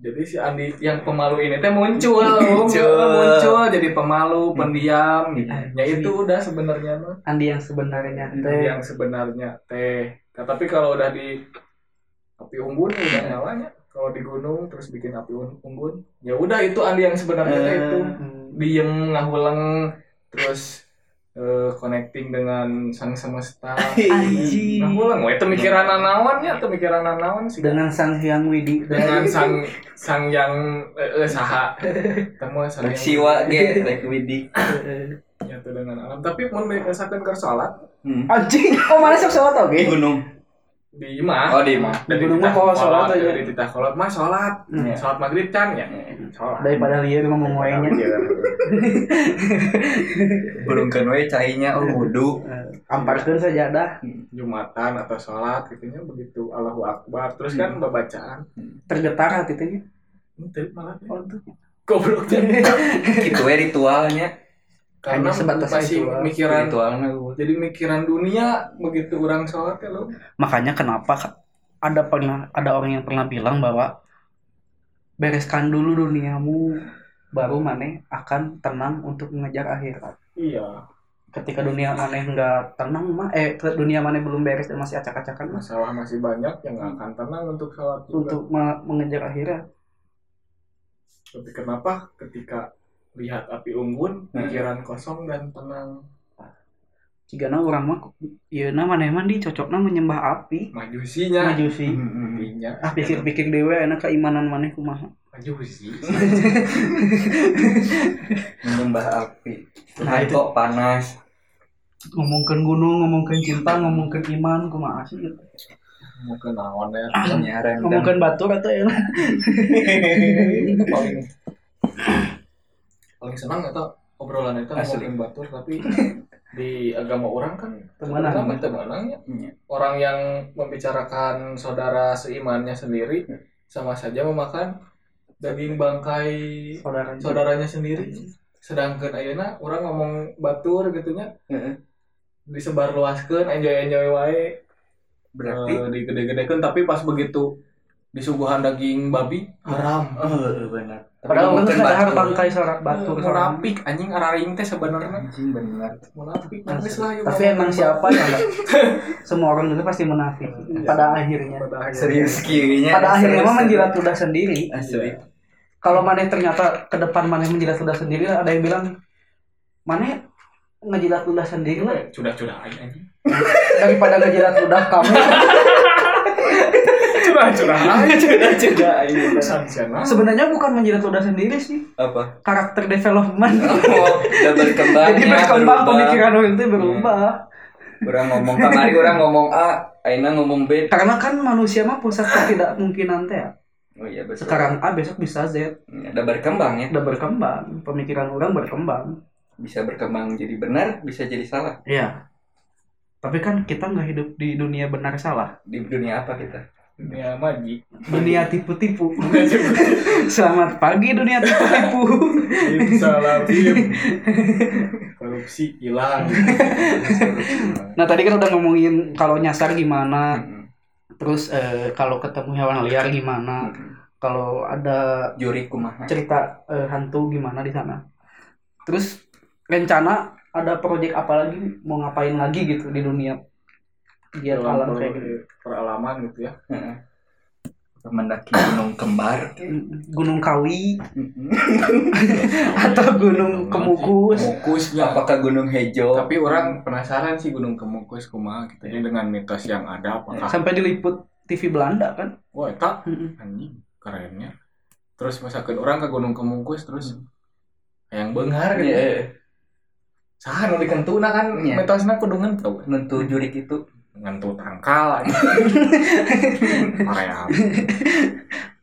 Speaker 4: jadi si Andi yang pemalu ini teh muncul
Speaker 2: Muncul.
Speaker 4: muncul jadi pemalu pendiam gitu. ya itu udah sebenarnya mah
Speaker 1: Andi yang sebenarnya teh
Speaker 4: Nah, yang sebenarnya teh Nah, tapi kalau udah di api unggun ya udah nyalanya kalau di gunung terus bikin api un- unggun ya udah itu Andi yang sebenarnya teh itu
Speaker 1: Hmm,
Speaker 4: diem ngahuleng terus eh, connecting dengan sang semesta
Speaker 1: Anjing.
Speaker 4: ngahuleng wah itu mikiran nanawan ya itu mikiran nanawan sih
Speaker 1: dengan Sang Hyang Widi Eh,
Speaker 4: dengan sang sang yang eh, eh, saha temu sang
Speaker 2: Rek
Speaker 4: yang
Speaker 2: siwa ge, rek widi.
Speaker 1: eh.
Speaker 4: nyatu dengan alam tapi mun biasakan ke salat
Speaker 2: Hmm.
Speaker 1: anjing oh mana sok sholat
Speaker 2: Di
Speaker 1: oge
Speaker 2: gunung.
Speaker 4: di imah
Speaker 2: Oh, di mah.
Speaker 1: Di gunung mah poho sholat aja.
Speaker 4: di titah kolot mah sholat
Speaker 1: Hmm.
Speaker 4: sholat maghrib can ya Iya. sholat
Speaker 1: daripada dia memang ngoengnya
Speaker 2: Burungkan we cainya oh wudu.
Speaker 1: amparkeun Eh, saja dah
Speaker 4: jumatan atau sholat gitunya begitu Allahu Akbar terus kan babacaan
Speaker 1: tergetar hati tehnya
Speaker 4: itu malah
Speaker 1: oh tuh
Speaker 4: goblok Jan.
Speaker 2: Gitu we ritualnya.
Speaker 4: karena
Speaker 1: Hanya sebatas Gitu.
Speaker 4: masih
Speaker 1: ritual.
Speaker 4: mikiran
Speaker 2: Ritualnya gua.
Speaker 4: jadi mikiran dunia begitu orang sholat ya lo
Speaker 1: makanya kenapa ka- ada pernah ada orang yang pernah bilang bahwa bereskan dulu duniamu baru maneh akan tenang untuk mengejar akhirat
Speaker 4: iya
Speaker 1: ketika dunia maneh nggak tenang mah eh ke- dunia maneh belum beres dan masih acak-acakan mah
Speaker 4: masalah masih banyak yang nggak akan tenang untuk sholat juga
Speaker 1: untuk me- mengejar akhirat
Speaker 4: tapi kenapa ketika lihat api unggun
Speaker 2: Hmm.
Speaker 4: pikiran kosong dan tenang
Speaker 1: jika orang mah ya nama maneh mandi cocoknya menyembah api Ya.
Speaker 4: majusinya
Speaker 1: majusi
Speaker 2: Hmm.
Speaker 4: intinya
Speaker 1: ah pikir-pikir dewe enak keimanan maneh kumaha
Speaker 4: majusi
Speaker 2: Menyembah api.
Speaker 1: Nah,
Speaker 2: Nah,
Speaker 1: itu-
Speaker 2: kok panas.
Speaker 1: ngomongkan gunung ngomongkan cinta ngomongkan iman kumaha sih gitu.
Speaker 4: mau ke naon ya
Speaker 2: Punya rendang.
Speaker 1: ngomongkan batur atau ya
Speaker 4: itu paling paling senang atau obrolan itu
Speaker 2: Asli.
Speaker 4: ngomongin batur tapi di agama orang kan
Speaker 1: Temenan.
Speaker 4: temenan temenannya
Speaker 2: Iya.
Speaker 4: orang yang membicarakan saudara seimannya sendiri sama saja memakan daging bangkai
Speaker 1: saudara
Speaker 4: saudaranya sendiri sedangkan ayeuna orang ngomong batur gitunya
Speaker 2: Heeh.
Speaker 4: disebar luaskan enjoy enjoy wae Eh,
Speaker 2: Berarti
Speaker 1: Eh.
Speaker 4: digede-gedekan tapi pas begitu disuguhan daging babi haram
Speaker 2: Eh, benar.
Speaker 1: Padahal orang
Speaker 2: bukan
Speaker 1: sadahar
Speaker 2: batu.
Speaker 1: bangkai sorak batu
Speaker 2: Iya,
Speaker 4: batur
Speaker 1: sorak.
Speaker 4: munafik anjing araring teh sebenarnya
Speaker 2: Anjing benar.
Speaker 4: munafik nangis lah yuk.
Speaker 1: Nah, Tapi emang
Speaker 2: gitu.
Speaker 1: siapa ya? Mbak? Semua orang dulu pasti munafik pada akhirnya.
Speaker 3: pada akhirnya.
Speaker 2: Serius kirinya.
Speaker 1: Pada akhirnya
Speaker 2: Iya. Serius.
Speaker 1: mah menjilat ludah sendiri.
Speaker 2: Asli.
Speaker 1: Kalau maneh ternyata ke depan maneh menjilat ludah sendiri, ada yang bilang maneh ngejilat ludah sendiri lah
Speaker 4: sudah sudah anjing
Speaker 1: daripada ngejilat ludah kamu.
Speaker 4: curah curah
Speaker 2: Juga
Speaker 1: Sebenarnya bukan menjilat ludah sendiri sih,
Speaker 2: apa?
Speaker 1: karakter development.
Speaker 2: Oh, udah berkembang. ya,
Speaker 1: Jadi berkembang pemikiran orang
Speaker 2: Iya.
Speaker 1: itu berubah.
Speaker 2: Orang ngomong kamari orang ngomong A, Aina ngomong B.
Speaker 1: Karena kan manusia mah pusat ketidakmungkinan teh. ya.
Speaker 2: Oh iya betul.
Speaker 1: Sekarang A besok bisa Z.
Speaker 2: Ya, udah berkembang ya.
Speaker 1: Udah berkembang, pemikiran orang berkembang.
Speaker 2: Bisa berkembang jadi benar, bisa jadi salah.
Speaker 1: Iya. Tapi kan kita nggak hidup di dunia benar salah,
Speaker 2: Di dunia apa kita?
Speaker 3: dunia magi
Speaker 1: dunia tipu-tipu. Selamat pagi dunia tipu-tipu.
Speaker 3: Insalabim
Speaker 4: korupsi hilang
Speaker 1: nah tadi kan udah ngomongin kalau nyasar gimana,
Speaker 2: Mm-mm.
Speaker 1: terus eh, kalau ketemu hewan liar gimana,
Speaker 2: Mm-mm.
Speaker 1: kalau ada
Speaker 2: Juri kumaha.
Speaker 1: cerita eh, hantu gimana di sana. Terus rencana ada proyek apa lagi mau ngapain lagi gitu di dunia giat
Speaker 3: Dalam
Speaker 1: alam
Speaker 3: per-
Speaker 1: kayak gitu.
Speaker 3: peralaman gitu ya
Speaker 2: Heeh. Mendaki gunung kembar.
Speaker 1: Gunung Kawi atau Gunung Kemukus. Nah.
Speaker 4: mukus ya
Speaker 2: Apakah gunung hijau?
Speaker 4: tapi orang penasaran sih gunung kemukus kumaha gitu ya dengan mitos yang
Speaker 2: Ah.
Speaker 4: ada apakah
Speaker 1: Sampai diliput TV Belanda kan.
Speaker 4: wah tak
Speaker 1: Mm-mm.
Speaker 4: anjing kerennya terus misalkan orang ke gunung kemukus terus yang benghar
Speaker 2: Iya,
Speaker 4: gitu
Speaker 2: iya.
Speaker 4: sahan udah kentuna kan
Speaker 2: Iya.
Speaker 4: mitosnya kudu ngentu
Speaker 2: Nentu jurik itu.
Speaker 4: ngentu tangkal Korea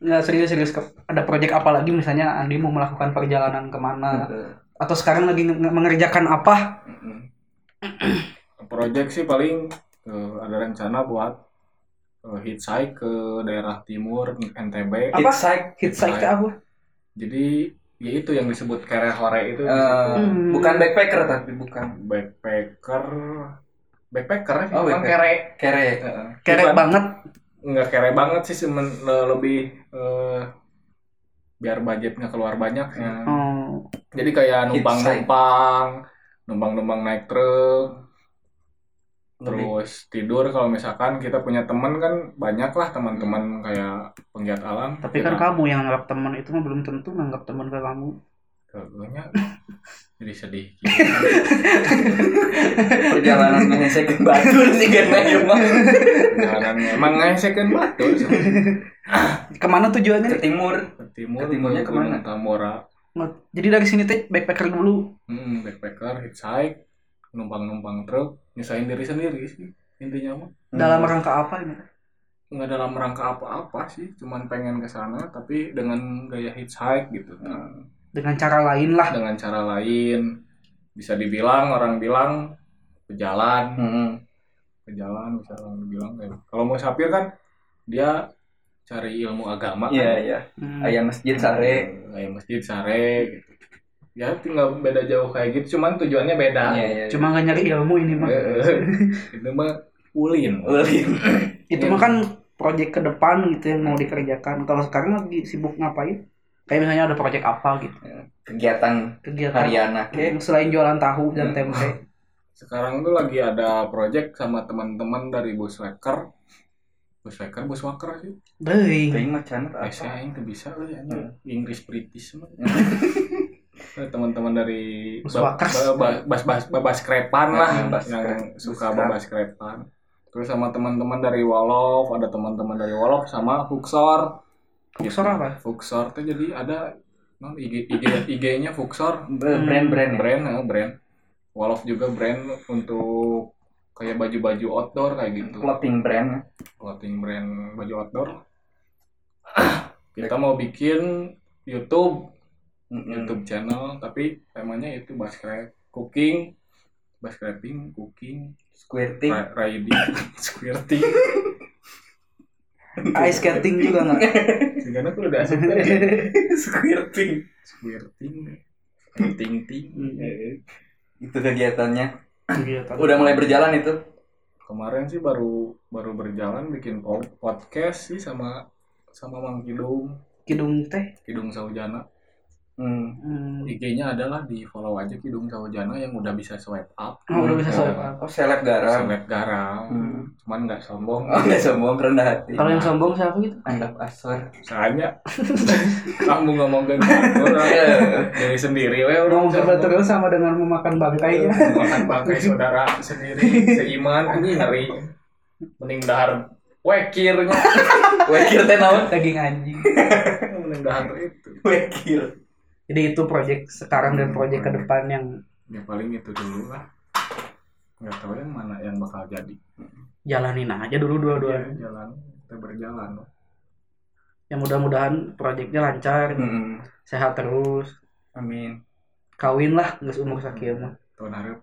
Speaker 1: Nggak serius-serius Kak. ada proyek apa lagi misalnya Andi mau melakukan perjalanan kemana
Speaker 2: Heeh.
Speaker 1: atau sekarang lagi nge- mengerjakan apa?
Speaker 2: Mm-mm.
Speaker 4: ya. project sih paling eh, ada rencana buat eh, hitchhike ke daerah timur NTB
Speaker 1: Apa?
Speaker 2: Hitchhike.
Speaker 1: Hits
Speaker 2: Nah,
Speaker 1: like teh apa?
Speaker 4: jadi ya itu yang disebut kere hore itu di situ.
Speaker 2: Eh,
Speaker 1: Hmm.
Speaker 2: bukan backpacker tapi bukan
Speaker 4: backpacker backpacker sih
Speaker 2: Oh,
Speaker 4: bukan
Speaker 2: backpacker.
Speaker 4: kere
Speaker 2: kere
Speaker 4: Heeh.
Speaker 1: Kerek
Speaker 4: Bukan-
Speaker 1: banget.
Speaker 4: nggak kere banget sih semen, le- lebih eh, biar budget nggak keluar banyak ya.
Speaker 2: Hmm.
Speaker 1: Oh,
Speaker 4: jadi kayak numpang
Speaker 2: Hitchhike.
Speaker 4: numpang numpang numpang naik truk
Speaker 2: Lebih-
Speaker 4: terus tidur kalau misalkan kita punya teman kan banyak lah teman-teman kayak penggiat alam
Speaker 1: tapi
Speaker 2: Iya.
Speaker 1: kan kamu yang nganggap teman itu mah belum tentu nganggap teman kayak kamu.
Speaker 4: Keduanya jadi sedih gitu.
Speaker 2: perjalanan saya ke batu sih kan, ya, karena cuma
Speaker 4: Perjalanannya. emang kan, ngesekin batu sebenarnya.
Speaker 1: Kemana tujuannya?
Speaker 2: ke timur
Speaker 4: ke timur
Speaker 2: Ke timurnya
Speaker 4: ke Gunung
Speaker 2: kemana?
Speaker 4: Tambora
Speaker 1: Nggak- Jadi dari sini teh backpacker dulu.
Speaker 4: Hmm, backpacker, hitchhike, numpang-numpang truk, nyesain diri sendiri sih. Intinya mah
Speaker 2: Hmm.
Speaker 1: Hmm. Dalam rangka apa ini?
Speaker 4: nggak dalam rangka apa-apa sih, cuman pengen ke sana tapi dengan gaya hitchhike gitu.
Speaker 2: Hmm.
Speaker 1: Dengan cara lain lah.
Speaker 4: Dengan cara lain bisa dibilang orang bilang pejalan,
Speaker 2: Hmm.
Speaker 4: pejalan bisa orang bilang kayak. Kalau mau sapir kan dia cari ilmu agama
Speaker 2: iya
Speaker 4: kan.
Speaker 2: iya
Speaker 1: Hmm.
Speaker 2: ayam masjid sare
Speaker 4: Kayak masjid sare gitu. Ya tinggal beda jauh kayak gitu, cuman tujuannya beda.
Speaker 2: iya iya
Speaker 1: Ya. Cuma nggak nyari ilmu ini mah.
Speaker 4: Eh, itu mah ulin.
Speaker 2: Ulin.
Speaker 1: Itu mah kan proyek ke depan gitu yang mau dikerjakan. Kalau sekarang lagi sibuk ngapain? Kayak misalnya ada proyek apa gitu.
Speaker 2: kegiatan
Speaker 1: Kegiatan
Speaker 2: harian ke
Speaker 1: Yang selain jualan tahu
Speaker 2: Hmm.
Speaker 1: dan tempe.
Speaker 4: sekarang tuh lagi ada project sama teman-teman dari Buswaker Buswaker Buswaker sih
Speaker 1: Beuing.
Speaker 2: Ting macan apa
Speaker 4: eh
Speaker 2: Hmm.
Speaker 4: saya yang bisa lah ya Inggris British mah Eh, teman-teman dari ba-
Speaker 1: Buswakers.
Speaker 4: ba- ba- bas bas babas krepan lah
Speaker 2: Eh, bas-
Speaker 4: yang
Speaker 2: kre-
Speaker 4: suka
Speaker 2: bas-
Speaker 4: babas krepan terus sama teman-teman dari Wolof ada teman-teman dari Wolof sama Fuxor
Speaker 1: Fuxor apa?
Speaker 4: Fuxor tuh jadi ada non IG IG IG-nya Fuxor
Speaker 2: brand brand ya?
Speaker 4: brand ya, brand Wolof juga brand untuk kayak baju-baju outdoor kayak gitu
Speaker 2: clothing brand ya?
Speaker 4: clothing brand baju outdoor kita mau bikin YouTube
Speaker 2: Mm-mm.
Speaker 4: YouTube channel tapi temanya itu basket cooking basketing cooking
Speaker 2: square thing
Speaker 4: ra- riding squirting
Speaker 1: Ice skating juga nggak?
Speaker 4: sehingga aku udah asik kan?
Speaker 2: square thing
Speaker 4: squirting ting ting
Speaker 2: itu kegiatannya
Speaker 1: Kegiatan.
Speaker 2: udah mulai berjalan itu
Speaker 4: kemarin sih baru baru berjalan bikin po- podcast sih sama sama Mang Kidung,
Speaker 1: Kidung teh.
Speaker 4: Kidung Saujana. Hmm.
Speaker 1: Hmm.
Speaker 4: IG-nya adalah di follow aja Kidung Saujana yang udah bisa swipe up,
Speaker 1: Oh, udah bisa
Speaker 2: Oh,
Speaker 1: soal.
Speaker 2: Oh, seleb garam.
Speaker 4: swipe garam,
Speaker 1: Hmm. Ah.
Speaker 4: cuman nggak sombong.
Speaker 2: Oh, nggak sombong, rendah hati.
Speaker 1: Kalau yang sombong siapa gitu?
Speaker 2: Anggap asor.
Speaker 4: Soalnya kamu ngomongin orang dari sendiri, we
Speaker 1: Iya. Ngomong
Speaker 4: sombong.
Speaker 1: kebetulan sama dengan memakan bangkainya.
Speaker 4: Makan
Speaker 3: pakai saudara sendiri seiman ini hari mending dahar wekirnya
Speaker 2: Wekir teh naon?
Speaker 1: Daging anjing.
Speaker 4: mending dahar itu.
Speaker 2: Wekir.
Speaker 1: Jadi itu proyek sekarang dan proyek ke depan yang
Speaker 4: Ya paling itu dulu lah. Nggak tahu yang mana yang bakal jadi.
Speaker 1: jalanin aja dulu dua-duanya.
Speaker 4: Ya, jalan kita berjalan. lah.
Speaker 1: Ya mudah-mudahan proyeknya lancar,
Speaker 2: Mm-mm.
Speaker 1: sehat terus,
Speaker 2: Hmm. Amin.
Speaker 1: kawin lah nggak seumur sakit ya, mah.
Speaker 4: Tahun harap,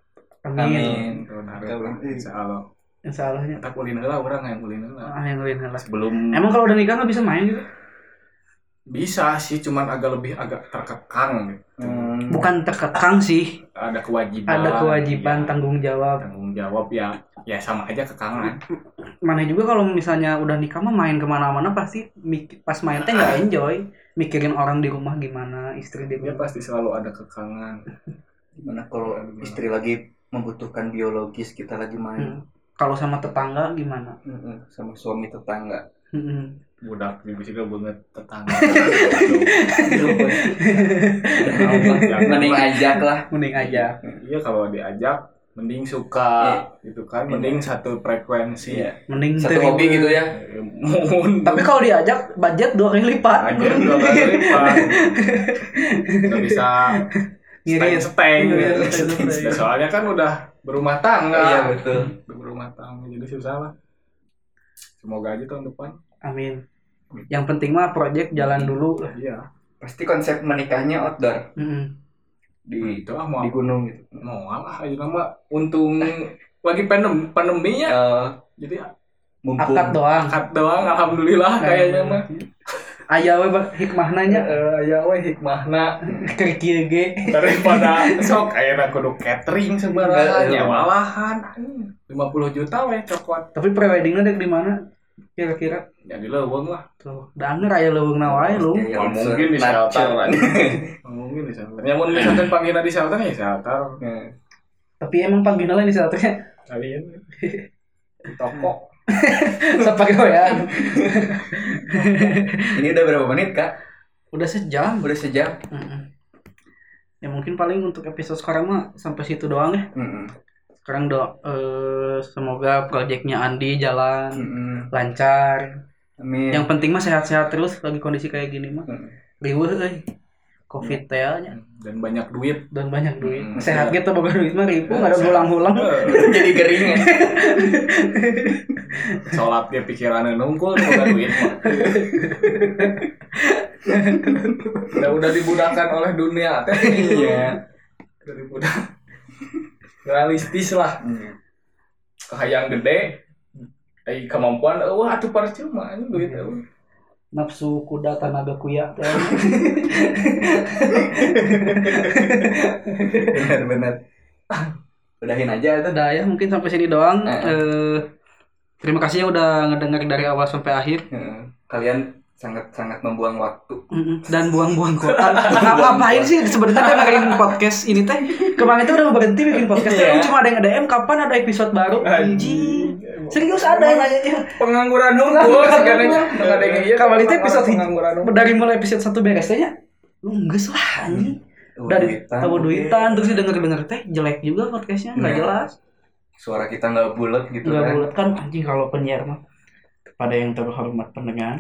Speaker 1: Amin.
Speaker 2: Amin.
Speaker 4: tahun harap. lah. Insya Allah.
Speaker 1: Insya Allahnya.
Speaker 4: Kita kulin heula orang yang kulin heula.
Speaker 1: Ah, yang lain lah.
Speaker 4: Sebelum
Speaker 1: Emang kalau udah nikah nggak bisa main gitu?
Speaker 4: bisa sih, cuman agak lebih agak terkekang. Gitu.
Speaker 2: Hmm.
Speaker 1: Bukan terkekang sih,
Speaker 4: Ada kewajiban.
Speaker 1: ada kewajiban
Speaker 4: Iya.
Speaker 1: tanggung jawab.
Speaker 4: tanggung jawab ya ya sama aja kekangan
Speaker 1: Mana juga kalau misalnya udah nikah mah main kemana-mana pasti mik- pas main teh nggak enjoy, mikirin orang di rumah gimana, istri di
Speaker 4: dia
Speaker 1: rumah.
Speaker 4: Iya, pasti selalu ada kekangan
Speaker 2: Gimana kalau istri lagi membutuhkan biologis kita lagi main
Speaker 1: Hmm. Kalau sama tetangga gimana?
Speaker 2: Mm-mm. sama suami tetangga.
Speaker 1: Hmm.
Speaker 4: budak di bisik banget tetangga
Speaker 2: Mending ajak lah.
Speaker 1: Mending aja.
Speaker 4: iya kalau diajak mending suka gitu kan mending satu frekuensi
Speaker 2: Iya.
Speaker 1: Mending
Speaker 2: Satu
Speaker 1: teri-
Speaker 2: hobi gitu ya.
Speaker 4: Ya, mohon
Speaker 1: Tapi kalau diajak budget dua kali lipat.
Speaker 4: aja dua kali lipat nggak bisa
Speaker 1: Ngirit.
Speaker 4: steng
Speaker 1: Ngirit,
Speaker 4: gitu
Speaker 1: steng, steng.
Speaker 4: soalnya kan udah berumah tangga
Speaker 2: Iya betul.
Speaker 4: udah berumah tangga jadi susah lah semoga aja tahun depan
Speaker 1: Amin. Yang penting mah project jalan dulu.
Speaker 4: iya
Speaker 2: Pasti konsep menikahnya outdoor
Speaker 1: Mm-mm.
Speaker 2: di
Speaker 4: itu ah mau
Speaker 2: di gunung gitu.
Speaker 4: Moal ah ayeuna mah untung lagi pandem pandemi ya.
Speaker 2: Eh,
Speaker 4: Jadi
Speaker 2: mumpung
Speaker 1: Akad doang.
Speaker 4: angkat doang alhamdulillah kayaknya mah.
Speaker 1: Aya we ba- hikmahnanya
Speaker 4: Eh, ya we hikmahna
Speaker 1: keur kieu ge.
Speaker 4: daripada sok ayeuna kudu catering
Speaker 2: Enggak,
Speaker 4: sembarangan
Speaker 2: iya.
Speaker 4: ya malahan anjing. 50 juta we coklat.
Speaker 1: Tapi preweddingnya dek di mana? Kira-kira
Speaker 4: Jadi leuweung lah.
Speaker 1: tuh. Danger aya leuweungna wae lu.
Speaker 2: Iya,
Speaker 4: Wah,
Speaker 2: unsur
Speaker 4: mungkin di shelter
Speaker 2: nature.
Speaker 4: Mungkin di shelter. Ya mun misalkan panggilna di shelter ya shelter.
Speaker 2: Nah,
Speaker 1: Tapi emang panggilna lain di ya. satunya
Speaker 4: Kalian di toko
Speaker 1: sapagoyan.
Speaker 2: Ini udah berapa menit kak?
Speaker 1: Udah sejam.
Speaker 2: Udah sejam.
Speaker 1: Mm-mm. Hmm. Ya mungkin paling untuk episode sekarang mah sampai situ doang ya.
Speaker 2: Mm-mm.
Speaker 1: Sekarang do eh, semoga proyeknya Andi jalan
Speaker 2: Mm-mm.
Speaker 1: lancar.
Speaker 2: Amin.
Speaker 1: Yang penting mah sehat-sehat terus lagi kondisi kayak gini mah.
Speaker 2: Mm.
Speaker 1: Riweuh euy. Covid teh nya
Speaker 4: dan banyak duit.
Speaker 1: dan banyak duit.
Speaker 2: Mm,
Speaker 1: sehat
Speaker 2: sehat.
Speaker 1: gitu boga duit mah ribu enggak ada ulang-ulang.
Speaker 4: Iya,
Speaker 2: Jadi kering ya.
Speaker 4: Sholat dia pikirannya nungkul bukan duit mah. udah udah dibudahkan oleh dunia teh
Speaker 2: Iya.
Speaker 4: udah dibudak realistis lah
Speaker 2: Mm.
Speaker 4: kahayang gede eh kemampuan eh, wah tuh percuma ini duit eh, wah.
Speaker 1: Nafsu kuda tanaga kuya teh.
Speaker 2: Benar-benar. Udahin aja tuh.
Speaker 1: Udah ya mungkin sampai sini doang.
Speaker 2: Eh.
Speaker 1: Eh, terima kasih ya udah ngedenger dari awal sampai akhir
Speaker 2: Heeh. kalian sangat-sangat membuang waktu.
Speaker 1: Mm-mm. dan buang-buang kota. Ngapain sih sebenarnya kan bikin podcast ini teh? Kemarin tuh udah berhenti bikin podcast.
Speaker 2: Iya.
Speaker 1: Cuma ada yang DM kapan ada episode baru. Anjing. Serius ada yang nanya.
Speaker 4: pengangguran nungkul sekarang nggak ada yang iya
Speaker 1: Kemarin itu episode
Speaker 4: pengangguran nungkul
Speaker 1: dari mulai episode satu beresnya lu nggak lah anjing dari tahu Hmm. duitan Iya. terus denger denger teh jelek juga podcastnya nggak
Speaker 2: Nah,
Speaker 1: jelas
Speaker 2: Suara kita nggak bulat gitu
Speaker 1: nggak
Speaker 2: kan.
Speaker 1: bulat kan anjing kalau penyiar mah kepada yang terhormat pendengar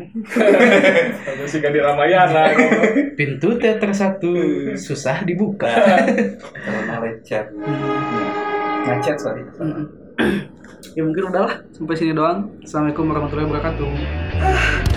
Speaker 4: Terus sih di Ramayana
Speaker 1: pintu teater satu susah dibuka
Speaker 2: Karena lecet.
Speaker 1: Hmm.
Speaker 2: Macet sorry.
Speaker 1: Mm-mm. ya mungkin udahlah sampai sini doang assalamualaikum warahmatullahi wabarakatuh